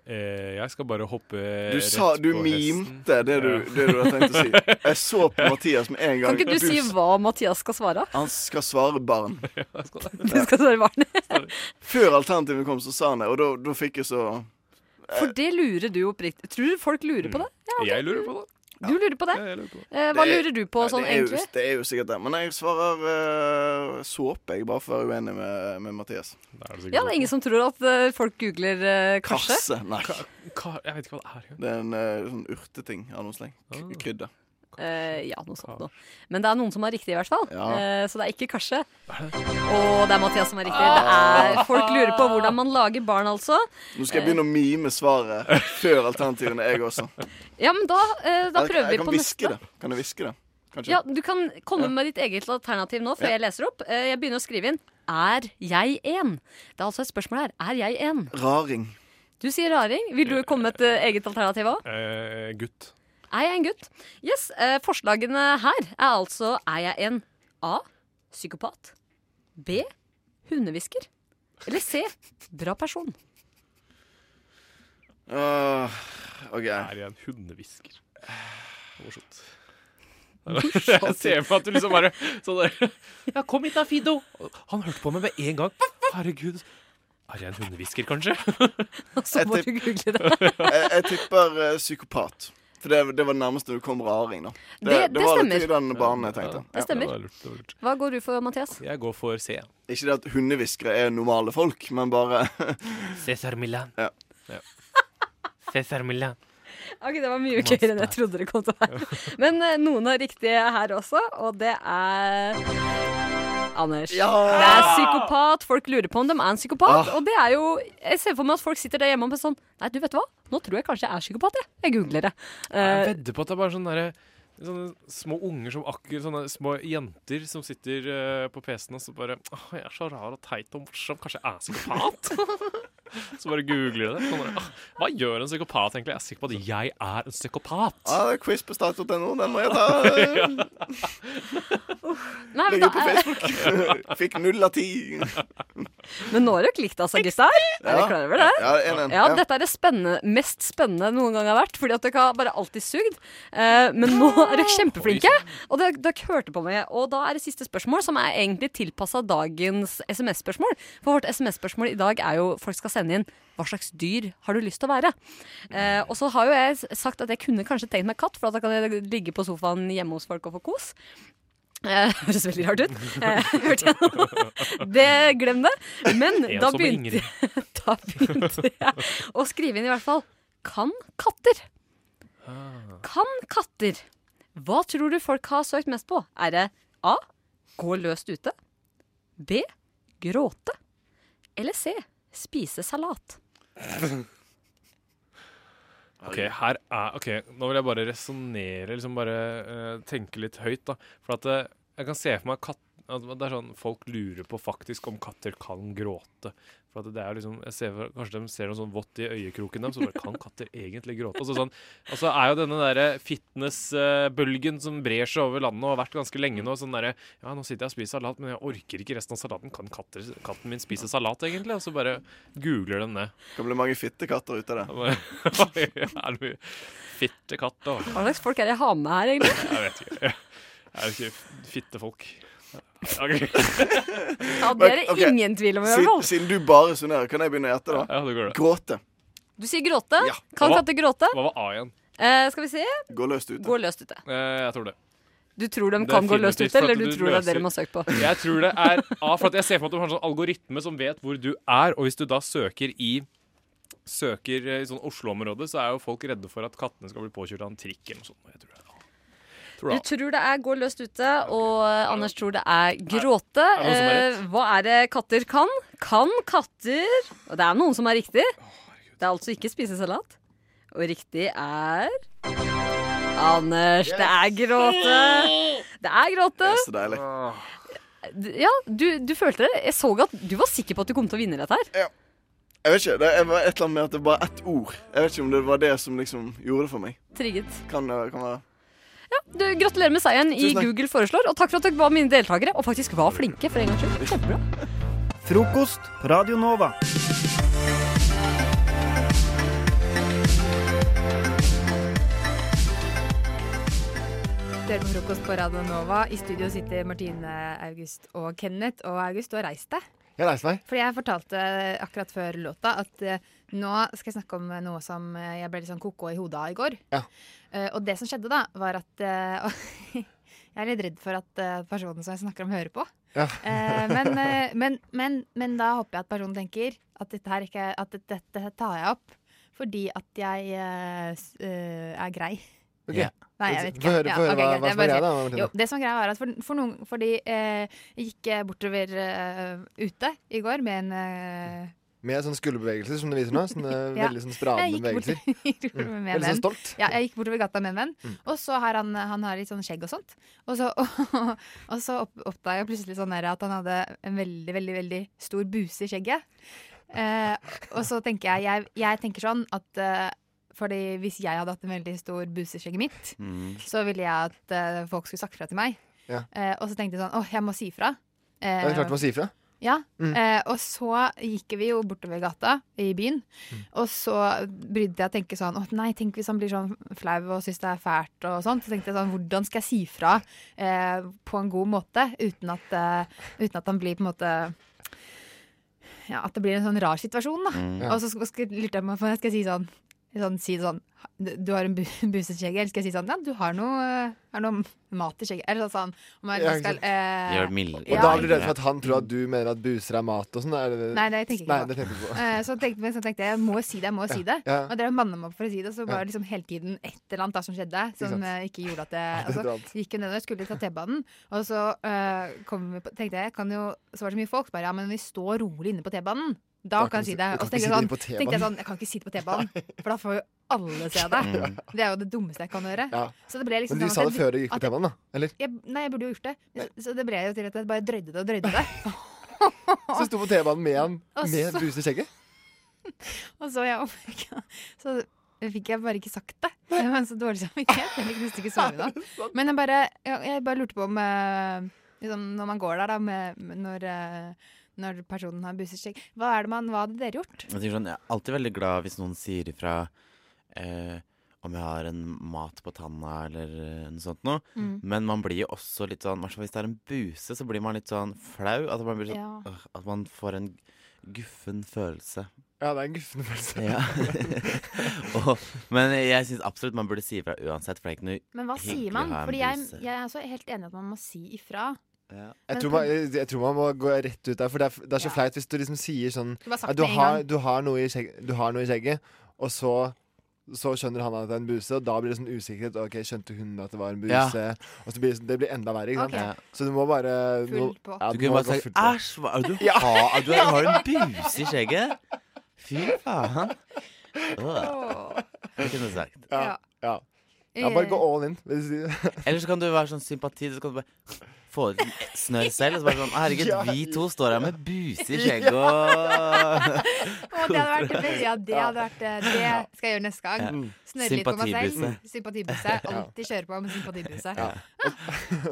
[SPEAKER 8] Eh, jeg skal bare hoppe
[SPEAKER 7] Eh,
[SPEAKER 2] Du sa,
[SPEAKER 8] rett
[SPEAKER 2] du
[SPEAKER 8] på hesten.
[SPEAKER 2] mimte det du, det du hadde tenkt å si. Jeg så på Mathias med en
[SPEAKER 7] Kan
[SPEAKER 2] gang.
[SPEAKER 7] ikke du si hva Mathias skal svare?
[SPEAKER 2] Han skal svare barn.
[SPEAKER 7] Du skal svare barn.
[SPEAKER 2] Eh. Før alternativet kom, så sa han det, og da, da fikk jeg så
[SPEAKER 7] For det lurer du oppriktig Tror du folk lurer på det?
[SPEAKER 8] Jeg lurer på det.
[SPEAKER 7] Du lurer på det?
[SPEAKER 8] Jeg lurer på det.
[SPEAKER 7] Eh, hva
[SPEAKER 2] Det er-
[SPEAKER 7] lurer du på
[SPEAKER 2] Nei,
[SPEAKER 7] sånn
[SPEAKER 2] det er jo,
[SPEAKER 7] egentlig?
[SPEAKER 2] Det er jo sikkert det. Men jeg svarer eh, såpe, jeg, bare for å være uenig med, med Mathias.
[SPEAKER 8] Da er det sikkert
[SPEAKER 7] Ja, det er ingen som tror at eh, folk googler eh, karse.
[SPEAKER 2] Karse? Nei.
[SPEAKER 8] Ka- Jeg vet ikke hva det er.
[SPEAKER 2] Det er en eh, sånn urteting av noe sleng. K-
[SPEAKER 8] Ah.
[SPEAKER 2] Krydder.
[SPEAKER 7] Eh, ja, noe sånt noe. Men det er noen som har riktig, i hvert fall.
[SPEAKER 2] Ja.
[SPEAKER 7] Eh, så det er ikke karse. Og det er Mathias som har riktig. Det
[SPEAKER 2] Ah.
[SPEAKER 7] er, folk lurer på hvordan man lager barn, altså.
[SPEAKER 2] Nå skal jeg begynne å mime svaret før alternativene, jeg også.
[SPEAKER 7] Ja, men da, eh, da
[SPEAKER 2] Jeg-
[SPEAKER 7] prøver
[SPEAKER 2] jeg
[SPEAKER 7] vi
[SPEAKER 2] kan
[SPEAKER 7] på neste.
[SPEAKER 2] hviske det. Kan jeg hviske det? Kanskje?
[SPEAKER 7] Ja, Du kan komme med ditt eget alternativ nå, før jeg leser opp. Eh, jeg begynner å skrive inn. Er jeg en? Det er altså et spørsmål her. Er jeg en?
[SPEAKER 2] Raring.
[SPEAKER 7] Du sier raring. Vil du komme med et eh, eget alternativ òg?
[SPEAKER 8] Eh, gutt.
[SPEAKER 7] Er jeg en gutt? Yes, eh, Forslagene her er altså Er jeg en A. Psykopat B. Hundehvisker Eller C. Bra person
[SPEAKER 2] Åh, OK.
[SPEAKER 8] Er jeg en hundehvisker? Morsomt. Jeg ser for meg at du liksom bare sånn der Ja, kom hit da, Fido! Han hørte på meg med en gang. Herregud. Er jeg en hundehvisker, kanskje?
[SPEAKER 7] Og så
[SPEAKER 2] Jeg
[SPEAKER 7] må du
[SPEAKER 2] tipp-
[SPEAKER 7] google det
[SPEAKER 2] Jeg, jeg tipper eh, psykopat. For det, det var det nærmeste du kom raring, da.
[SPEAKER 7] Det- det
[SPEAKER 2] var
[SPEAKER 7] stemmer.
[SPEAKER 2] litt i den banen jeg tenkte.
[SPEAKER 7] Det
[SPEAKER 8] Ja, det
[SPEAKER 7] stemmer
[SPEAKER 8] var lurt, det var lurt.
[SPEAKER 7] Hva går du for, Mathias?
[SPEAKER 8] Jeg går for C.
[SPEAKER 2] Ikke det at hundehviskere er normale folk, men bare
[SPEAKER 8] Cæsar Milan.
[SPEAKER 2] Ja.
[SPEAKER 8] Ja. Cæsar Milan.
[SPEAKER 7] Ok, det var mye gøyere enn jeg trodde det kom til å være Men eh, noen er riktige her også Og det er Anders Det er psykopat Folk lurer på om de er en psykopat Og det er jo Jeg ser for meg at folk sitter der hjemme og bare sånn Nei, du vet hva? Nå tror jeg kanskje jeg er psykopat, jeg Jeg googler det
[SPEAKER 8] Jeg
[SPEAKER 7] Eh,
[SPEAKER 8] vedder på at det er bare sånne, der, sånne små unger som akkurat Sånne små jenter som sitter eh, på PC-en og så bare Åh, jeg er så rar og teit og morsom. Kanskje jeg er psykopat? så bare googler de det. Sånn bare, «Åh, Hva gjør en psykopat egentlig? Jeg er sikker på at jeg er en psykopat.
[SPEAKER 2] Ja, det er quiz på stat.no. Den må jeg ta.
[SPEAKER 7] Nei, men,
[SPEAKER 2] Legge
[SPEAKER 7] da,
[SPEAKER 2] ut på Facebook. Fikk null av ti.
[SPEAKER 7] men nå har dere likt, altså, gutter. Er dere klar over det?
[SPEAKER 2] Ja, en, en.
[SPEAKER 7] Ja, dette er det spennende, mest spennende noen gang har vært, fordi at dere har bare alltid sugd. Eh, men nå er dere kjempeflinke, og dere, dere hørte på meg. Og da er det siste spørsmål, som er egentlig tilpassa dagens SMS-spørsmål. For vårt SMS-spørsmål i dag er jo folk skal sende inn hva slags dyr har du lyst til å være? Eh, og så har jo jeg s- sagt at jeg kunne kanskje tenkt meg katt, for at da kan jeg ligge på sofaen hjemme hos folk og få kos. Eh, høres veldig rart ut. Eh, hørte jeg noe? Det, glem det. Men
[SPEAKER 8] En
[SPEAKER 7] da
[SPEAKER 8] som
[SPEAKER 7] begynte,
[SPEAKER 8] Ingrid.
[SPEAKER 7] da begynte jeg å skrive inn i hvert fall Kan katter?
[SPEAKER 8] Ah.
[SPEAKER 7] Kan katter? Hva tror du folk har søkt mest på? Er det A. Gå løst ute. B. Gråte. Eller C. Spise salat.
[SPEAKER 8] Ok, her er Ok, nå vil jeg bare resonnere, liksom bare eh, tenke litt høyt, da. For at eh, jeg kan se for meg katt at det er sånn Folk lurer på faktisk om katter kan gråte. For at det er liksom jeg ser for, Kanskje de ser noe sånn vått i øyekroken dem, så bare Kan katter egentlig gråte? Og så sånn, og så er jo denne derre fitnessbølgen som brer seg over landet og har vært ganske lenge nå, sånn derre Ja, nå sitter jeg og spiser salat, men jeg orker ikke resten av salaten. Kan katter, katten min spise salat, egentlig? Og så bare googler de det.
[SPEAKER 2] Det kan bli mange fittekatter ut av det.
[SPEAKER 8] Oi, er det mye fitte katt, da?
[SPEAKER 7] Hva slags folk er det jeg har med her, egentlig?
[SPEAKER 8] Jeg vet ikke. Er det ikke fittefolk? Ok,
[SPEAKER 7] Ja, det er det
[SPEAKER 2] Ok, ok.
[SPEAKER 7] ingen tvil om, i hvert
[SPEAKER 2] Siden,
[SPEAKER 7] fall.
[SPEAKER 2] siden du bare summerer, kan jeg begynne å gjette, da?
[SPEAKER 8] ja, det går det.
[SPEAKER 2] Gråte.
[SPEAKER 7] Du sier gråte.
[SPEAKER 2] Ja.
[SPEAKER 7] Kan
[SPEAKER 8] Hva?
[SPEAKER 7] katter gråte?
[SPEAKER 8] Hva var A igjen?
[SPEAKER 7] Eh, skal vi se.
[SPEAKER 2] Gå løst ut.
[SPEAKER 7] Gå løst ute.
[SPEAKER 8] Eh, Jeg tror det.
[SPEAKER 7] Du tror de
[SPEAKER 8] Det er
[SPEAKER 7] kan gå
[SPEAKER 8] definitivt
[SPEAKER 7] løst ute,
[SPEAKER 8] for at
[SPEAKER 7] eller du
[SPEAKER 8] du
[SPEAKER 4] tror det er
[SPEAKER 8] løser-
[SPEAKER 4] dere må søke på.
[SPEAKER 8] Jeg tror det er A, for at jeg ser for meg at du har en sånn algoritme som vet hvor du er, og hvis du da søker i Søker eh, i sånn Oslo-området, så er jo folk redde for at kattene skal bli påkjørt av en trikk eller noe sånt. Jeg tror det er A. Tror
[SPEAKER 7] Du
[SPEAKER 8] det er A.
[SPEAKER 7] tror det er gå løst ute, og eh, Anders tror det er gråte.
[SPEAKER 8] Er det noen som er rett?
[SPEAKER 7] Eh, hva er det katter kan? Kan katter Og det er noen som er riktig. Det er altså ikke spise salat. Og riktig er Anders, det er gråte. Det er gråte.
[SPEAKER 2] Det er så deilig.
[SPEAKER 7] D- Ja, du, du følte det. Jeg så at du var sikker på at du kom til å vinne dette her.
[SPEAKER 2] Jeg vet ikke, det er bare et eller annet med at det er bare ett ord. Jeg vet ikke om det var det som liksom gjorde det for meg.
[SPEAKER 7] Trigget.
[SPEAKER 2] Kan, det- kan være
[SPEAKER 7] Du, gratulerer med seieren i
[SPEAKER 2] Tusen takk.
[SPEAKER 7] Google foreslår, og takk for at dere var mine deltakere, og faktisk var flinke for en gangs skyld. Kjempebra.
[SPEAKER 9] Frokost på Radio Nova.
[SPEAKER 5] Du hører på frokost på Radio Nova. I studio sitter Martine, August og Kenneth. Og August, du har reist deg.
[SPEAKER 12] Jeg reiser meg.
[SPEAKER 5] Fordi jeg fortalte akkurat før låta at eh, nå skal jeg snakke om noe som eh, jeg ble litt sånn koko i hodet av i går. Eh, og det som skjedde da, var at eh, Jeg er litt redd for at eh, personen som jeg snakker om, hører på.
[SPEAKER 12] Ja.
[SPEAKER 5] Eh, men, eh, men, men, men da håper jeg at personen tenker at dette, her ikke, at dette, dette tar jeg opp fordi at jeg eh, s- eh, er grei.
[SPEAKER 12] Ok.
[SPEAKER 5] Nei, jeg vet ikke.
[SPEAKER 12] Få høre- få høre
[SPEAKER 5] ok,
[SPEAKER 12] hva-
[SPEAKER 5] greit,
[SPEAKER 12] hva
[SPEAKER 5] jeg
[SPEAKER 12] som er
[SPEAKER 5] bare
[SPEAKER 12] greia da,
[SPEAKER 5] sier-
[SPEAKER 12] Martine.
[SPEAKER 5] Jo, det som er greia var at for, for noen, fordi eh, jeg gikk eh, bortover eh, ute i går med en eh,
[SPEAKER 12] Med sånne skulderbevegelser som du viser nå. Sånne
[SPEAKER 5] ja.
[SPEAKER 12] veldig sånn spralende
[SPEAKER 5] Jeg gikk bortover-
[SPEAKER 12] bevegelser.
[SPEAKER 5] gikk bortover
[SPEAKER 12] Mm.
[SPEAKER 5] med en
[SPEAKER 12] Veldig sånn
[SPEAKER 5] venn.
[SPEAKER 12] stolt.
[SPEAKER 5] Ja, jeg gikk bortover gata med en venn.
[SPEAKER 12] Mm.
[SPEAKER 5] Og så har han, han har litt sånn skjegg og sånt. Og så, og så opp, oppdaga jeg plutselig sånn der at han hadde en veldig, veldig veldig stor buse i skjegget. Eh, og så tenker jeg, jeg Jeg tenker sånn at eh, fordi hvis jeg hadde hatt en veldig stor buse i skjegget mitt,
[SPEAKER 12] Mm.
[SPEAKER 5] så ville jeg at eh, folk skulle sagt fra til meg.
[SPEAKER 12] Ja.
[SPEAKER 5] Eh, og så tenkte jeg sånn åh, jeg må si fra.
[SPEAKER 12] Det er klart man sier fra.
[SPEAKER 5] Eh, Ja,
[SPEAKER 12] Mm.
[SPEAKER 5] eh, og så gikk vi jo bortover gata i byen,
[SPEAKER 12] Mm.
[SPEAKER 5] og så brydde jeg å tenke sånn, åh nei, tenk hvis han blir sånn flau og synes det er fælt og sånn, så tenkte jeg sånn, hvordan skal jeg si fra eh, på en god måte, uten at, eh, uten at han blir på en måte, ja, at det blir en sånn rar situasjon da.
[SPEAKER 12] Mm. Ja.
[SPEAKER 5] Og så sk- sk- lurte jeg meg på, skal jeg si sånn, sånn, si sånn, du har en bu buset skjegg, eller skal jeg si sånn, ja, du har noe, eh, har noe mat i skjegget, eller sånn, sånn, om jeg
[SPEAKER 12] Ja,
[SPEAKER 5] liksom
[SPEAKER 12] ikke
[SPEAKER 5] skal...
[SPEAKER 12] sant.
[SPEAKER 5] eh,
[SPEAKER 12] Og da blir du redd for at han tror at du mener at buser er mat og sånn? Er det,
[SPEAKER 5] Nei, det tenker jeg
[SPEAKER 12] Nei,
[SPEAKER 5] ikke
[SPEAKER 12] det tenker jeg ikke på.
[SPEAKER 5] Eh, så, tenkte, men så tenkte jeg jeg må si det, jeg må si det.
[SPEAKER 12] Ja.
[SPEAKER 5] Og dere manna meg opp for å si det, så var
[SPEAKER 12] Ja.
[SPEAKER 5] det liksom hele tiden et eller annet da som skjedde. Som
[SPEAKER 12] sant?
[SPEAKER 5] eh, ikke gjorde at jeg
[SPEAKER 12] Et eller
[SPEAKER 5] altså,
[SPEAKER 12] annet.
[SPEAKER 5] Gikk jo nedover, skulle ta T-banen, og så eh, kom vi på, tenkte jeg jeg kan jo Så var det så mye folk, bare ja, men vi står rolig inne på T-banen. Da
[SPEAKER 12] Da kan
[SPEAKER 5] kan
[SPEAKER 12] du
[SPEAKER 5] jeg
[SPEAKER 12] si-
[SPEAKER 5] si det.
[SPEAKER 12] du kan
[SPEAKER 5] Og så
[SPEAKER 12] ikke
[SPEAKER 5] tenkte jeg sånn,
[SPEAKER 12] si det inne på
[SPEAKER 5] tenkte jeg
[SPEAKER 12] T-banen.
[SPEAKER 5] sånn Jeg kan ikke si det på T-banen, for da får jo alle se det.
[SPEAKER 12] Mm.
[SPEAKER 5] Det er jo det dummeste jeg kan gjøre.
[SPEAKER 12] Ja.
[SPEAKER 5] Så det ble liksom
[SPEAKER 12] Men du
[SPEAKER 5] sånn
[SPEAKER 12] sa
[SPEAKER 5] at
[SPEAKER 12] det
[SPEAKER 5] jeg-
[SPEAKER 12] før du gikk på
[SPEAKER 5] at jeg-
[SPEAKER 12] temaen, da? Eller?
[SPEAKER 5] jeg, Nei, jeg burde jo gjort det. Så, så det ble jo til at jeg bare drøyde det og drøyde det.
[SPEAKER 12] Så sto på T-banen med han
[SPEAKER 5] Og
[SPEAKER 12] med
[SPEAKER 5] så-
[SPEAKER 12] buse i skjegget?
[SPEAKER 5] Og så jeg oh overgikk- Så fikk jeg bare ikke sagt det. Jeg var så dårlig samvittighet. Jeg fikk nesten ikke sove da. Men jeg bare, jeg, jeg bare lurte på om eh, liksom, Når man går der, da, med, med- når, eh, når personen har buseskjegg, hva er det man, hva hadde dere gjort?
[SPEAKER 13] Jeg, tenker sånn, jeg er alltid veldig glad hvis noen sier ifra eh, om jeg har en mat på tanna eller eh, noe sånt noe.
[SPEAKER 5] Mm.
[SPEAKER 13] Men man blir jo også litt sånn, hvertfall hvis det er en buse, så blir man litt sånn flau. At man, blir sånn,
[SPEAKER 12] Ja.
[SPEAKER 13] «Åh», at man får en guffen følelse.
[SPEAKER 12] Ja, det er en guffen følelse.
[SPEAKER 13] Ja. og, men jeg syns absolutt man burde si ifra uansett, for det er ikke noe
[SPEAKER 4] Men hva
[SPEAKER 13] hyggelig
[SPEAKER 4] sier
[SPEAKER 13] å
[SPEAKER 4] man?
[SPEAKER 13] ha en
[SPEAKER 4] Fordi jeg,
[SPEAKER 13] buse.
[SPEAKER 4] jeg er også helt enig i at man må si ifra.
[SPEAKER 13] Ja.
[SPEAKER 12] Jeg
[SPEAKER 4] Men
[SPEAKER 12] tror,
[SPEAKER 4] på-
[SPEAKER 12] man, jeg, jeg tror man må gå rett ut der, for det er, f- det er så flaut hvis du liksom sier sånn
[SPEAKER 4] Du bare sagt
[SPEAKER 12] ja, du,
[SPEAKER 4] det en
[SPEAKER 12] har,
[SPEAKER 4] gang.
[SPEAKER 12] du, har noe i skjegget, du har noe i skjegget, og så, så skjønner han at det er en buse, og da blir det sånn usikkerhet. Ok, skjønte hun at det var en buse?
[SPEAKER 13] Ja.
[SPEAKER 12] Og så blir det, sånn- det blir enda verre, ikke sant?
[SPEAKER 13] Ok. Ja.
[SPEAKER 12] Så du må bare du må-
[SPEAKER 13] Full
[SPEAKER 12] ja,
[SPEAKER 13] pott. Du kunne
[SPEAKER 12] må
[SPEAKER 13] bare
[SPEAKER 12] gå
[SPEAKER 13] sagt,
[SPEAKER 12] full pott.
[SPEAKER 13] «Æsj, hva er det du har? Du har- har du en buse i skjegget?» Fy faen. Åh. Det kunne du sagt.
[SPEAKER 12] Ja. ja. Ja,
[SPEAKER 7] Eh.
[SPEAKER 12] bare
[SPEAKER 5] Eh,
[SPEAKER 12] gå all in. vil jeg si.
[SPEAKER 13] Eller så kan du være sånn sympati, så kan du bare få ut litt snørr selv. Og så bare sånn Herregud,
[SPEAKER 12] Ja.
[SPEAKER 13] vi to står her med buse i skjegget og
[SPEAKER 5] Å, det hadde vært veldig- Ja, det hadde vært eh, Det skal jeg gjøre neste gang.
[SPEAKER 13] Ja.
[SPEAKER 5] Snørre litt på meg selv.
[SPEAKER 13] Sympatibuse.
[SPEAKER 5] Sympatibuse.
[SPEAKER 13] Ja.
[SPEAKER 5] Alltid kjøre på med sympatibuse.
[SPEAKER 13] Ja.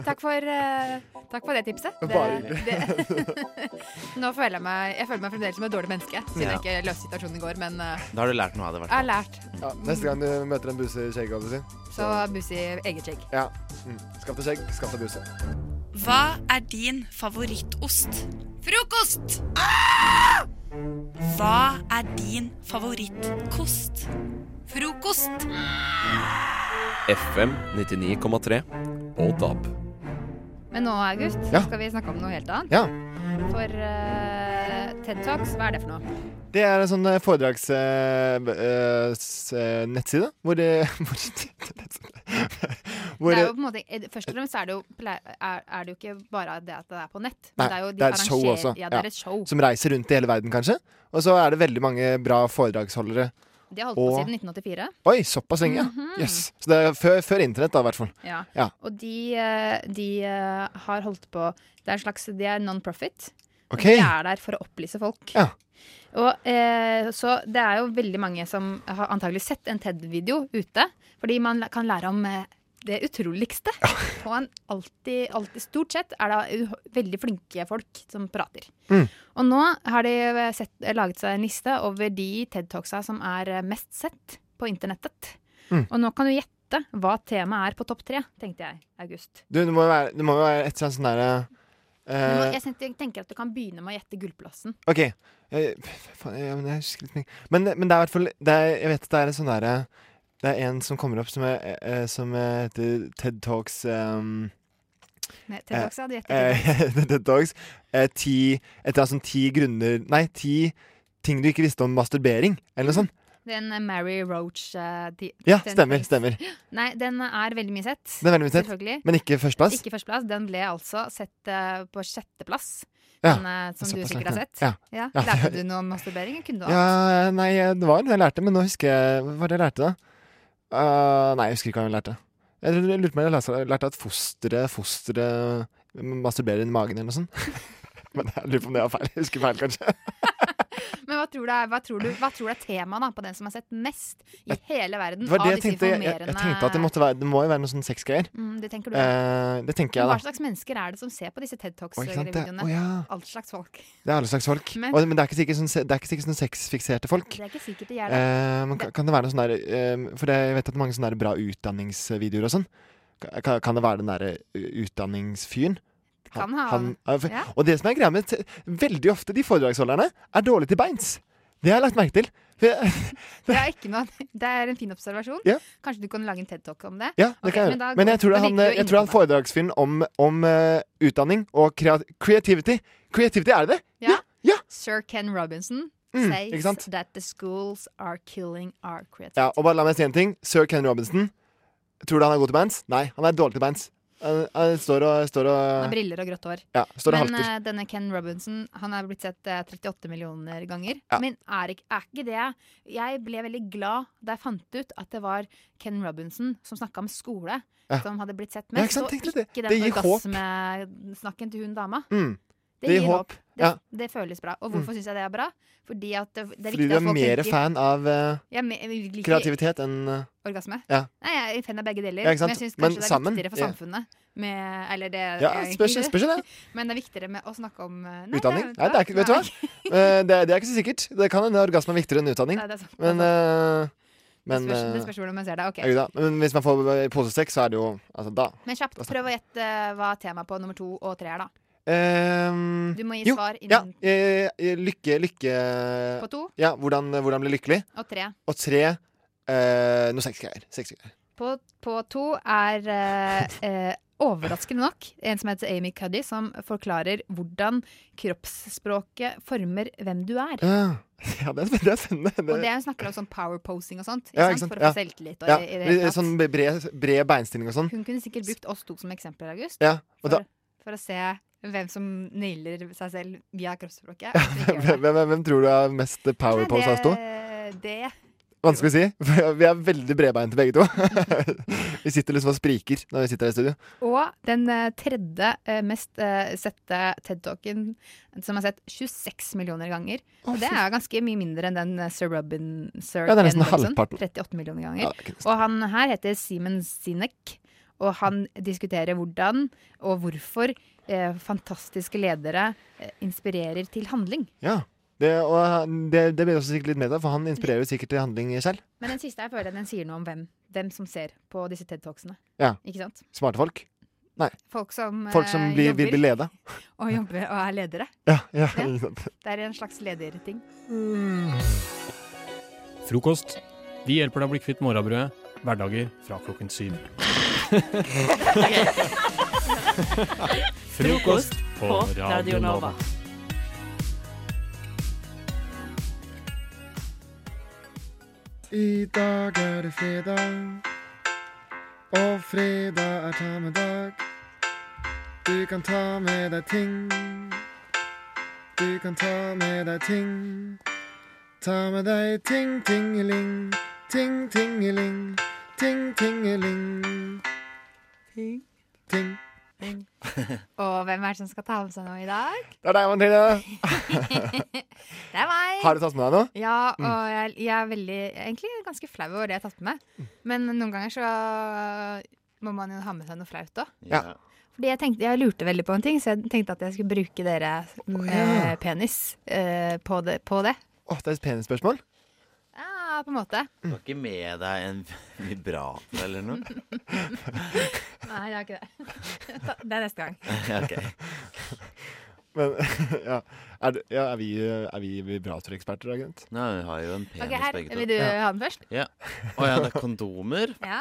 [SPEAKER 5] Takk for, eh, takk for det tipset. Det,
[SPEAKER 12] Bare hyggelig.
[SPEAKER 5] det- Nå føler jeg meg Jeg føler meg fremdeles som et dårlig menneske, siden
[SPEAKER 12] Ja.
[SPEAKER 5] jeg ikke løste situasjonen i går, men eh,
[SPEAKER 13] Da har du lært noe av det, i
[SPEAKER 5] jeg har lært.
[SPEAKER 12] Ja, neste gang du møter en buse i skjegget, holdt jeg på å si.
[SPEAKER 5] Så buss i eget skjegg.
[SPEAKER 12] Ja. Mm. Skaff deg skjegg, skaff deg buse.
[SPEAKER 14] Hva er din favorittost? Frokost! Hva er din favorittkost? Frokost!
[SPEAKER 1] FM 99,3 og DAB.
[SPEAKER 5] Men nå, August, så
[SPEAKER 1] Ja.
[SPEAKER 5] skal vi snakke om noe helt annet.
[SPEAKER 12] Ja.
[SPEAKER 5] For eh, TED Talks, hva er det for noe?
[SPEAKER 12] Det er en sånn eh, foredragsnettside hvor, eh, hvor Hvor-
[SPEAKER 5] det er jo på en måte, eh, først og fremst er det, jo, plei- er, er det jo ikke bare det at det er på nett. men
[SPEAKER 12] Nei,
[SPEAKER 5] det er jo de
[SPEAKER 12] det er et show
[SPEAKER 5] arrangerer-
[SPEAKER 12] også.
[SPEAKER 5] Ja, det
[SPEAKER 12] Ja.
[SPEAKER 5] er et show.
[SPEAKER 12] Som reiser rundt i hele verden, kanskje. Og så er det veldig mange bra foredragsholdere.
[SPEAKER 5] De har holdt på
[SPEAKER 12] Og-
[SPEAKER 5] siden 1984.
[SPEAKER 12] Oi, såpass lenge, ja.
[SPEAKER 5] Mhm.
[SPEAKER 12] Yes. Så det er før, før internett, da, i hvert fall.
[SPEAKER 5] Ja.
[SPEAKER 12] Ja.
[SPEAKER 5] Og de, eh, de eh, har holdt på Det er en slags De er non-profit.
[SPEAKER 12] Ok.
[SPEAKER 5] De er der for å opplyse folk.
[SPEAKER 12] Ja.
[SPEAKER 5] Og eh, så Det er jo veldig mange som har antagelig sett en TED-video ute. Fordi man kan lære om eh, det utroligste. På en alltid, alltid Stort sett er det u- veldig flinke folk som prater.
[SPEAKER 15] Mm.
[SPEAKER 5] Og nå har de eh, sett, eh, laget seg en liste over de TED-talksa som er eh, mest sett på internettet.
[SPEAKER 12] Mm.
[SPEAKER 5] Og nå kan du gjette hva temaet er på topp tre, tenkte jeg, August.
[SPEAKER 12] Du, det må jo være, det må jo være et sånt sånn derre
[SPEAKER 5] Du må,
[SPEAKER 12] eh,
[SPEAKER 5] jeg tenker- tenker at du kan begynne med å gjette gullplassen.
[SPEAKER 12] OK. Jeg, faen, jeg, men, jeg husker litt mye. men, men det er i hvert fall det er, Jeg vet det er et sånn derre Det er en som kommer opp som, er, eh, som eh, heter TED Talks um,
[SPEAKER 5] Nei, TED Talks, ja, du gjetter
[SPEAKER 12] TED Talks. Eh, ti, et eller annet sånn ti grunner Nei, ti ting du ikke visste om masturbering, eller noe sånt.
[SPEAKER 5] Den eh, Mary Roach eh, de,
[SPEAKER 12] Ja,
[SPEAKER 5] den-
[SPEAKER 12] stemmer. stemmer
[SPEAKER 5] Nei, den er veldig mye sett.
[SPEAKER 12] Den er veldig mye sett,
[SPEAKER 5] selvfølgelig.
[SPEAKER 12] men ikke førsteplass?
[SPEAKER 5] Ikke førsteplass. Den ble altså sett eh, på sjetteplass.
[SPEAKER 12] Ja,
[SPEAKER 5] Den, eh, som du
[SPEAKER 12] såpass
[SPEAKER 5] sikkert
[SPEAKER 12] langt
[SPEAKER 5] har
[SPEAKER 12] ned.
[SPEAKER 5] sett.
[SPEAKER 12] Ja. Ja,
[SPEAKER 5] Lærte
[SPEAKER 12] det-
[SPEAKER 5] du noe om masturbering? Kunne du alt?
[SPEAKER 12] Ja, nei, det var noe jeg lærte, men nå husker jeg Hva var det jeg lærte, da? Eh, nei, jeg husker ikke hva jeg lærte. Jeg tror- jeg lurte på om jeg lærte- lærte at fosteret fostere masturberer inn i magen, eller noe sånt. men jeg lurer på om det var feil. Jeg husker feil, kanskje.
[SPEAKER 5] Men hva tror du er, hva tror du, hva tror du er temaet da, på den som er sett mest i hele verden?
[SPEAKER 12] Det var
[SPEAKER 5] av
[SPEAKER 12] det jeg
[SPEAKER 5] disse
[SPEAKER 12] tenkte. Jeg, jeg, jeg
[SPEAKER 5] informerende-
[SPEAKER 12] tenkte at det måtte være Det må jo være noe sånn sexgreier.
[SPEAKER 5] Mm, det tenker du.
[SPEAKER 12] Eh, det tenker jeg,
[SPEAKER 5] Men
[SPEAKER 12] da.
[SPEAKER 5] Hva slags mennesker er det som ser på disse TED
[SPEAKER 12] Oi, sant det.
[SPEAKER 5] Talks-videoene?
[SPEAKER 12] Å, ja.
[SPEAKER 5] Alt slags folk.
[SPEAKER 12] Det er alle slags folk.
[SPEAKER 5] Men-
[SPEAKER 12] og, men det er ikke sikkert sånn, se- det er ikke sikkert sånn sexfikserte folk.
[SPEAKER 5] Det er ikke sikkert de er det.
[SPEAKER 12] Eh, men kan, kan det være noe sånn der eh, For det- jeg vet at mange sånne der bra utdanningsvideoer og sånn. Ka- Kan, kan det være den derre utdanningsfyren?
[SPEAKER 5] kan ha.
[SPEAKER 12] eh, for,
[SPEAKER 5] Ja.
[SPEAKER 12] Og det som er greia med t- Veldig ofte de foredragsholderne er dårlige til beins. Det har jeg lagt merke til. For jeg,
[SPEAKER 5] Det er, ikke noe, det er en fin observasjon.
[SPEAKER 12] Ja.
[SPEAKER 5] Kanskje du kan lage en TED Talk om det?
[SPEAKER 12] ja, det kan
[SPEAKER 5] Ok,
[SPEAKER 12] jeg
[SPEAKER 5] men
[SPEAKER 12] gjøre.
[SPEAKER 5] da-
[SPEAKER 12] Men jeg tror, det
[SPEAKER 5] da
[SPEAKER 12] er
[SPEAKER 5] liker
[SPEAKER 12] han,
[SPEAKER 5] du
[SPEAKER 12] eh, jeg tror det er han foredragsfyren om, om eh, utdanning og kreat creativity. Creativity, er det det?
[SPEAKER 5] Ja. Sir Ken Robinson
[SPEAKER 12] Mm, ikke
[SPEAKER 5] says
[SPEAKER 12] sant?
[SPEAKER 5] that the schools are killing our creativity.
[SPEAKER 12] Ja, og bare la meg si en ting. Sir Ken Robinson, tror du han er god til bands? Nei, han er dårlig til bands. Han, han står og, står
[SPEAKER 5] Han har
[SPEAKER 12] og
[SPEAKER 5] briller og grått hår.
[SPEAKER 12] Ja, står og
[SPEAKER 5] Men
[SPEAKER 12] halter.
[SPEAKER 5] eh, denne Ken Robinson han er blitt sett eh, 38 millioner ganger.
[SPEAKER 12] Ja.
[SPEAKER 5] Men er ikke, er ikke det Jeg ble veldig glad da jeg fant ut at det var Ken Robinson som snakka om skole,
[SPEAKER 12] Ja.
[SPEAKER 5] som hadde blitt sett
[SPEAKER 12] Ja, ikke
[SPEAKER 5] mest.
[SPEAKER 12] sant?
[SPEAKER 5] og
[SPEAKER 12] Tenkte
[SPEAKER 5] ikke
[SPEAKER 12] det.
[SPEAKER 5] den
[SPEAKER 12] Det gir håp.
[SPEAKER 5] orgasmesnakken til hun dama.
[SPEAKER 12] Mm.
[SPEAKER 5] Det, gir håp. Det,
[SPEAKER 12] Ja.
[SPEAKER 5] det føles bra. Og hvorfor
[SPEAKER 12] Mm.
[SPEAKER 5] syns jeg det er bra? Fordi at det, det er
[SPEAKER 12] Fordi
[SPEAKER 5] viktig
[SPEAKER 12] du
[SPEAKER 5] at
[SPEAKER 12] er
[SPEAKER 5] folk
[SPEAKER 12] mer
[SPEAKER 5] tenker-
[SPEAKER 12] fan av eh,
[SPEAKER 5] Jeg er me- jeg liker-
[SPEAKER 12] kreativitet enn eh,
[SPEAKER 5] Orgasme?
[SPEAKER 12] Ja.
[SPEAKER 5] Nei, jeg er fan av begge deler.
[SPEAKER 12] Ja, ikke sant?
[SPEAKER 5] men jeg syns
[SPEAKER 12] Men
[SPEAKER 5] kanskje det er
[SPEAKER 12] sammen,
[SPEAKER 5] viktigere for
[SPEAKER 12] ja.
[SPEAKER 5] samfunnet. Med, eller det
[SPEAKER 12] Ja,
[SPEAKER 5] er egentlig
[SPEAKER 12] spørs-
[SPEAKER 5] ikke
[SPEAKER 12] spørs det.
[SPEAKER 5] Men det er viktigere med å snakke om eh, nei,
[SPEAKER 12] utdanning.
[SPEAKER 5] det er-
[SPEAKER 12] Nei, det er ikke, vet du hva? Eh, det, er- det er ikke så sikkert. Det kan hende orgasme er viktigere enn utdanning.
[SPEAKER 5] Nei, det er sant, det
[SPEAKER 12] Men,
[SPEAKER 5] er
[SPEAKER 12] eh, men
[SPEAKER 5] det, spørs,
[SPEAKER 12] eh,
[SPEAKER 5] det spørs hvordan man ser det. ok.
[SPEAKER 12] herregud da. Men hvis man får posesekk, så er det jo altså, da.
[SPEAKER 5] Men kjapt, prøv å gjette eh, hva temaet på nummer to og tre er, da.
[SPEAKER 12] Ehm,
[SPEAKER 5] Du må gi
[SPEAKER 12] jo,
[SPEAKER 5] svar innen-
[SPEAKER 12] Ja, eh, eh, lykke, lykke
[SPEAKER 5] På to.
[SPEAKER 12] Ja, hvordan, hvordan bli lykkelig.
[SPEAKER 5] Og tre.
[SPEAKER 12] Og tre eh, noe sexgreier. Sexgreier.
[SPEAKER 5] På, på to er eh, eh, overraskende nok en som heter Amy Cuddy, som forklarer hvordan kroppsspråket former hvem du er.
[SPEAKER 12] Ja. ja, det er spen- det er spennende. Det-
[SPEAKER 5] Og det hun snakker om sånn power posing og sånt, ikke
[SPEAKER 12] ja, ikke
[SPEAKER 5] sant?
[SPEAKER 12] sant?
[SPEAKER 5] for å få
[SPEAKER 12] Ja.
[SPEAKER 5] selvtillit. Og,
[SPEAKER 12] ja.
[SPEAKER 5] i- i det hele tatt.
[SPEAKER 12] Sånn bred, bred beinstilling og sånn.
[SPEAKER 5] Hun kunne sikkert brukt oss to som eksempler, August.
[SPEAKER 12] Ja, og da,
[SPEAKER 5] for, for å se hvem som nailer seg selv via kroppsspråket. og som ikke gjør det.
[SPEAKER 12] hvem, hvem, hvem tror du er mest power pose av oss to?
[SPEAKER 5] det
[SPEAKER 12] Vanskelig å si. for Vi er veldig bredbeinte begge to. vi sitter liksom og spriker når vi sitter her i studio.
[SPEAKER 5] Og den eh, tredje eh, mest eh, sette TED-talken som er sett 26 millioner ganger.
[SPEAKER 12] Å,
[SPEAKER 5] og det
[SPEAKER 12] fy.
[SPEAKER 5] er ganske mye mindre enn den eh, Sir Robin Sir
[SPEAKER 12] Ja, det er
[SPEAKER 5] Ken
[SPEAKER 12] nesten
[SPEAKER 5] Robinson,
[SPEAKER 12] halvparten.
[SPEAKER 5] 38 millioner
[SPEAKER 12] Ja, det
[SPEAKER 5] ganger.
[SPEAKER 12] er ikke
[SPEAKER 5] og han her heter Simen Sinek, og han diskuterer hvordan og hvorfor eh, fantastiske ledere eh, inspirerer til handling.
[SPEAKER 12] Ja. Det, og han- det, det blir også sikkert litt meta, for han inspirerer jo sikkert til handling selv.
[SPEAKER 5] Men den siste jeg føler den sier noe om hvem, hvem som ser på disse TED-talksene.
[SPEAKER 12] Ja.
[SPEAKER 5] Ikke sant?
[SPEAKER 12] Smarte folk. Nei.
[SPEAKER 5] Folk som,
[SPEAKER 12] Folk som
[SPEAKER 5] eh,
[SPEAKER 12] blir, vil
[SPEAKER 5] jobber.
[SPEAKER 12] bli leda.
[SPEAKER 5] Og jobber og er ledere.
[SPEAKER 12] Ja, ja,
[SPEAKER 5] Ja.
[SPEAKER 12] ikke sant.
[SPEAKER 5] Det er en slags lederting.
[SPEAKER 8] Frokost. Vi hjelper deg å bli kvitt morrabrødet. Hverdager fra klokken syv. Frokost på Radio Nova.
[SPEAKER 12] I dag er det fredag, og fredag er ta med dag. Du kan ta med deg ting. Du kan ta med deg ting. Ta med deg ting, tingeling. Ting, tingeling. Ting, tingeling.
[SPEAKER 5] Ting.
[SPEAKER 12] Ting.
[SPEAKER 5] Og hvem er det som skal ta med seg noe i dag?
[SPEAKER 12] Det er deg, Mathilde.
[SPEAKER 5] Det er meg.
[SPEAKER 15] Har du tatt med deg noe?
[SPEAKER 5] Ja,
[SPEAKER 15] Mm.
[SPEAKER 5] og jeg, jeg er veldig, jeg er egentlig ganske flau over det jeg har tatt med meg. Men noen ganger så må man jo ha med seg noe flaut òg.
[SPEAKER 15] Ja.
[SPEAKER 5] Fordi jeg, tenkte, jeg lurte veldig på en ting, så jeg tenkte at jeg skulle bruke dere eh, penis eh, på, det, på det.
[SPEAKER 15] Åh, det er et penisspørsmål.
[SPEAKER 5] Ja, på en måte.
[SPEAKER 13] Du har ikke med deg en vibrator eller noe?
[SPEAKER 5] Nei, jeg har ikke det. Det er neste gang.
[SPEAKER 13] Ja, ok.
[SPEAKER 15] Men ja, er, du- ja, er vi, er vi vibratoreksperter, agent?
[SPEAKER 13] Nei, vi har jo en penis
[SPEAKER 5] Ok, her,
[SPEAKER 13] begge to.
[SPEAKER 5] Vil du
[SPEAKER 13] ja.
[SPEAKER 5] ha den først?
[SPEAKER 13] Ja. Å ja, det er kondomer.
[SPEAKER 5] Ja.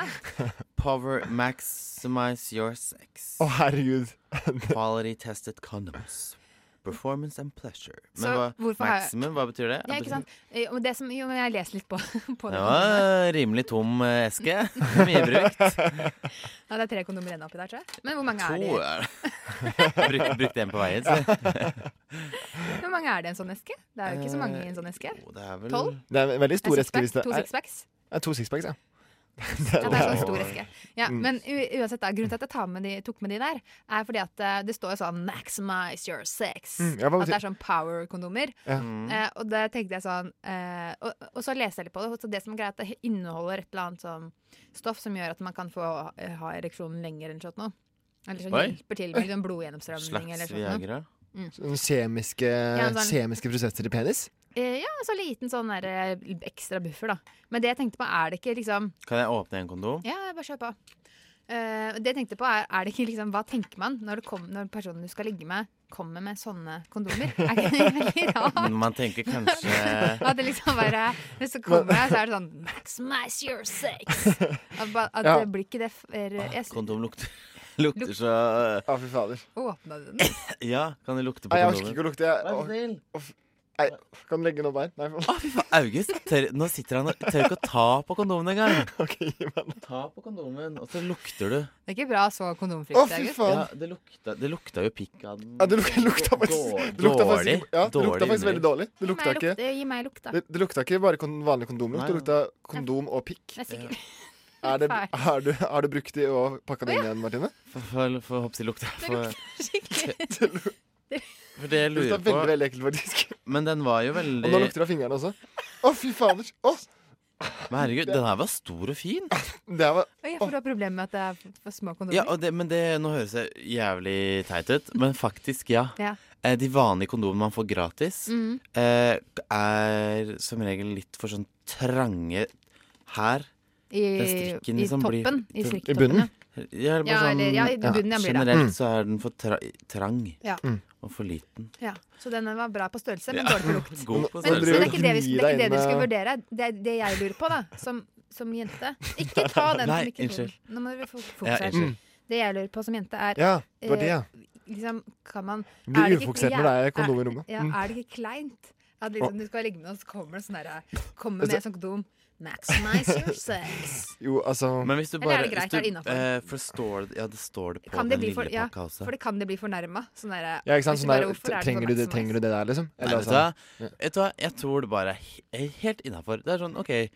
[SPEAKER 13] Power maximize your sex.
[SPEAKER 15] Å, herregud.
[SPEAKER 13] Quality tested condoms. Performance and pleasure. Men
[SPEAKER 5] Så
[SPEAKER 13] hva,
[SPEAKER 5] hvorfor har jeg-
[SPEAKER 13] maximum, hva betyr det?
[SPEAKER 5] Ja, ikke sant? Eh, og Det som, jo, men jeg leser litt på, på
[SPEAKER 13] Det
[SPEAKER 5] det.
[SPEAKER 13] var rimelig tom eh, eske. Mye brukt.
[SPEAKER 5] Ja, det er tre kondomer igjen oppi der, tror jeg. Men hvor mange
[SPEAKER 13] To
[SPEAKER 5] er det?
[SPEAKER 13] er det. Bruk, brukt en på veien, så.
[SPEAKER 5] Hvor mange er det i en sånn eske? Det er jo ikke så mange i en sånn eske.
[SPEAKER 13] Det er vel
[SPEAKER 5] Tolv?
[SPEAKER 15] Det er en veldig stor
[SPEAKER 5] En
[SPEAKER 15] eske. hvis
[SPEAKER 5] sixpack?
[SPEAKER 15] det
[SPEAKER 5] To
[SPEAKER 15] er-
[SPEAKER 5] sixpacks?
[SPEAKER 15] Ja, to sixpacks, ja.
[SPEAKER 5] Ja, det er sånn stor eske. Ja,
[SPEAKER 15] Mm.
[SPEAKER 5] men u uansett, da, grunnen til at jeg tar med de, tok med de der, er fordi at eh, det står jo sånn 'maximize your sex'.
[SPEAKER 15] Mm, ja, hva
[SPEAKER 5] at det
[SPEAKER 15] betyr-
[SPEAKER 5] er sånn power-kondomer.
[SPEAKER 15] Ja.
[SPEAKER 5] Eh, og det tenkte jeg sånn eh, og, og så leste jeg litt på det, og så det som er greit, det inneholder et eller annet sånn stoff som gjør at man kan få eh, ha ereksjonen lenger enn sånt noe. Eller sånn
[SPEAKER 15] Oi.
[SPEAKER 5] hjelper til med liksom, blodgjennomstrømning eller
[SPEAKER 13] slags
[SPEAKER 5] sånt noe.
[SPEAKER 13] Viagra.
[SPEAKER 5] Mm.
[SPEAKER 15] Sånn kjemiske,
[SPEAKER 5] Ja, sånn-
[SPEAKER 15] kjemiske prosesser i penis?
[SPEAKER 5] Eh, ja, så liten sånn der, eh, ekstra buffer, da. Men det jeg tenkte på, er det ikke liksom
[SPEAKER 13] Kan jeg åpne en kondom?
[SPEAKER 5] Ja, jeg bare kjør på. Eh, det jeg tenkte på er, er det ikke liksom, Hva tenker man når, det kom, når personen du skal ligge med, kommer med sånne kondomer? Er ikke det veldig rart?
[SPEAKER 13] Man tenker kanskje
[SPEAKER 5] At det liksom bare Hvis det kommer her, så er det sånn Maximize your sex! At, ba- at
[SPEAKER 13] Ja.
[SPEAKER 5] det blir ikke det f- er, jeg,
[SPEAKER 13] Ah, Kondom lukter, lukter så
[SPEAKER 15] Ja, fy fader.
[SPEAKER 5] Åpna du den?
[SPEAKER 13] Ja, kan det lukte på
[SPEAKER 15] Nei, jeg orker
[SPEAKER 13] kondomen?
[SPEAKER 15] ikke å lukte. Jeg, Å, å, nei, kan du legge den opp her? Nei, for...
[SPEAKER 13] August, tør, nå sitter han og tør ikke å ta på kondomen engang. Ta på kondomen, og så lukter du.
[SPEAKER 5] Det er ikke bra så kondomfritt.
[SPEAKER 15] Å, fy
[SPEAKER 5] August.
[SPEAKER 15] faen.
[SPEAKER 13] Ja, det, lukta, det lukta jo pikk av den.
[SPEAKER 15] Ja, det luk- lukta faktisk, det lukta faktisk, ja, det lukta faktisk veldig dårlig. Det
[SPEAKER 5] Gi
[SPEAKER 15] lukta
[SPEAKER 5] meg
[SPEAKER 15] ikke,
[SPEAKER 5] lukt, eh, gi meg lukt, da.
[SPEAKER 15] det, det lukta ikke bare kon vanlig kondomlukt, det
[SPEAKER 13] Nei.
[SPEAKER 15] lukta kondom og pikk.
[SPEAKER 5] Jeg er sikker.
[SPEAKER 15] Er det, har, du, har du brukt de og pakka det inn igjen, Martine?
[SPEAKER 13] Få hoppsi lukta. For,
[SPEAKER 5] Skikkelig.
[SPEAKER 13] for det jeg
[SPEAKER 15] Det
[SPEAKER 13] lurer
[SPEAKER 15] lukta
[SPEAKER 13] på
[SPEAKER 15] veldig, veldig ekkelt, faktisk.
[SPEAKER 13] Men den var jo
[SPEAKER 15] Og nå
[SPEAKER 13] veldig
[SPEAKER 15] lukter det av fingrene også. Å, fy fader. Å,
[SPEAKER 13] Men herregud, den her var stor og fin.
[SPEAKER 15] det var
[SPEAKER 5] Oi, jeg får ha problemer med at det er for- for små kondomer.
[SPEAKER 13] Ja, og det, men det, Nå høres jeg jævlig teit ut, men faktisk, ja.
[SPEAKER 5] Ja.
[SPEAKER 13] Eh, De vanlige kondomene man får gratis,
[SPEAKER 5] Mm.
[SPEAKER 13] eh, er som regel litt for sånn trange her.
[SPEAKER 5] I,
[SPEAKER 13] Den strikken
[SPEAKER 5] i
[SPEAKER 13] liksom blir-
[SPEAKER 5] toppen. I,
[SPEAKER 13] den-
[SPEAKER 5] strikketoppen,
[SPEAKER 13] Ja, eller, bare
[SPEAKER 5] Ja,
[SPEAKER 13] sånn,
[SPEAKER 5] eller- ja, i bunnen, ja, blir det.
[SPEAKER 13] Generelt
[SPEAKER 5] Mm.
[SPEAKER 13] så er den for tra trang
[SPEAKER 5] Ja.
[SPEAKER 15] Mm.
[SPEAKER 13] og for liten.
[SPEAKER 5] Ja, Så den var bra på størrelse, men
[SPEAKER 13] Ja.
[SPEAKER 5] dårlig på lukt.
[SPEAKER 13] God på
[SPEAKER 5] men, så det er ikke det, vi, det, er ikke det
[SPEAKER 13] størrelse.
[SPEAKER 5] dere
[SPEAKER 15] eh,
[SPEAKER 5] skal vurdere. Det er det jeg lurer på, da, som, som jente. Ikke ta den
[SPEAKER 13] Nei,
[SPEAKER 5] som ikke
[SPEAKER 13] unnskyld.
[SPEAKER 5] Nå må vi fok-
[SPEAKER 13] Ja,
[SPEAKER 5] fokusere.
[SPEAKER 13] unnskyld.
[SPEAKER 5] det jeg lurer på som jente, er
[SPEAKER 15] Mm. Ja, det var det, ja.
[SPEAKER 5] eh, liksom, kan man,
[SPEAKER 15] Blir
[SPEAKER 5] er det ikke-
[SPEAKER 15] ufokusert når det er kondom i
[SPEAKER 5] er-
[SPEAKER 15] rommet.
[SPEAKER 5] Ja,
[SPEAKER 15] Mm.
[SPEAKER 5] er det ikke kleint at liksom, du skal ligge med noen, så kommer det sånn derre Kommer med sånn kondom. Maximize your sex.
[SPEAKER 15] Jo, Altså- altså
[SPEAKER 13] Men hvis du
[SPEAKER 5] Eller er
[SPEAKER 13] bare
[SPEAKER 5] det greit,
[SPEAKER 13] hvis du,
[SPEAKER 5] er det innenfor?
[SPEAKER 13] eh, forstår det Ja, det står det på
[SPEAKER 5] Kan det
[SPEAKER 13] den
[SPEAKER 5] bli
[SPEAKER 13] lille
[SPEAKER 5] for, ja,
[SPEAKER 13] pakka også.
[SPEAKER 5] for det kan det bli fornærma. Sånn derre
[SPEAKER 15] Ja, ikke sant?
[SPEAKER 5] hvis du
[SPEAKER 15] Sånn
[SPEAKER 5] bare,
[SPEAKER 15] der,
[SPEAKER 5] hvorfor er det sånn
[SPEAKER 15] trenger, du det,
[SPEAKER 5] maximize?
[SPEAKER 15] trenger du det der, liksom?
[SPEAKER 13] Nei, vet, du hva?
[SPEAKER 15] altså-
[SPEAKER 13] vet du hva, jeg tror det bare er he- eh, helt innafor. Det er sånn, OK eh,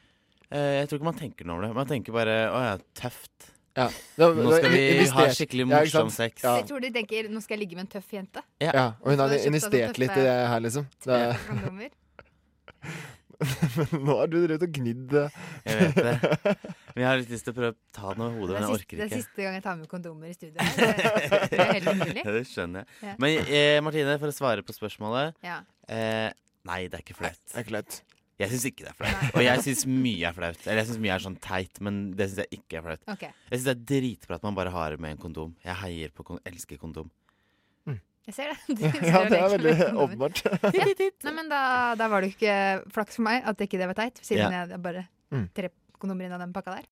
[SPEAKER 13] Jeg tror ikke man tenker noe over det. Man tenker bare å ja, tøft.
[SPEAKER 15] Ja.
[SPEAKER 13] Nå skal vi ha
[SPEAKER 15] investert.
[SPEAKER 13] skikkelig
[SPEAKER 15] Ja, ikke sant?
[SPEAKER 13] morsom sex.
[SPEAKER 15] Ja.
[SPEAKER 5] Jeg tror de tenker 'nå skal jeg ligge med en tøff jente'.
[SPEAKER 13] Ja.
[SPEAKER 15] Ja, og hun
[SPEAKER 5] Så
[SPEAKER 15] har
[SPEAKER 5] kjøpte altså
[SPEAKER 15] investert
[SPEAKER 5] tøffe-
[SPEAKER 15] litt i det her, liksom. Det er,
[SPEAKER 5] Kondomer.
[SPEAKER 15] men nå har du drevet og gnidd det.
[SPEAKER 13] Jeg vet det. Men jeg har litt lyst til å prøve å ta den over hodet,
[SPEAKER 5] Det
[SPEAKER 13] men
[SPEAKER 5] er, siste,
[SPEAKER 13] jeg orker
[SPEAKER 5] det er
[SPEAKER 13] ikke.
[SPEAKER 5] siste gang jeg tar med kondomer i studio. her. Det, det er helt umulig.
[SPEAKER 13] Ja, det skjønner jeg.
[SPEAKER 5] Ja.
[SPEAKER 13] Men eh, Martine, for å svare på spørsmålet
[SPEAKER 5] Ja.
[SPEAKER 13] eh, Nei, det er ikke flaut.
[SPEAKER 15] Det er ikke flaut.
[SPEAKER 13] Jeg syns ikke det er flaut. Og jeg syns mye er flaut. Eller jeg syns mye er sånn teit, men det syns jeg ikke er flaut.
[SPEAKER 5] Ok.
[SPEAKER 13] Jeg syns det er dritbra at man bare har med en kondom. Jeg heier på kon elsker kondom.
[SPEAKER 5] Jeg ser det. Du ser
[SPEAKER 15] Ja,
[SPEAKER 5] og
[SPEAKER 15] det er
[SPEAKER 5] leker med
[SPEAKER 15] veldig
[SPEAKER 5] kondomer.
[SPEAKER 15] åpenbart.
[SPEAKER 5] Ja. Nei, men da, da var det jo ikke flaks for meg at ikke det var teit, siden
[SPEAKER 15] Ja.
[SPEAKER 5] jeg bare
[SPEAKER 15] Mm.
[SPEAKER 5] tre kondomer inn av den pakka der.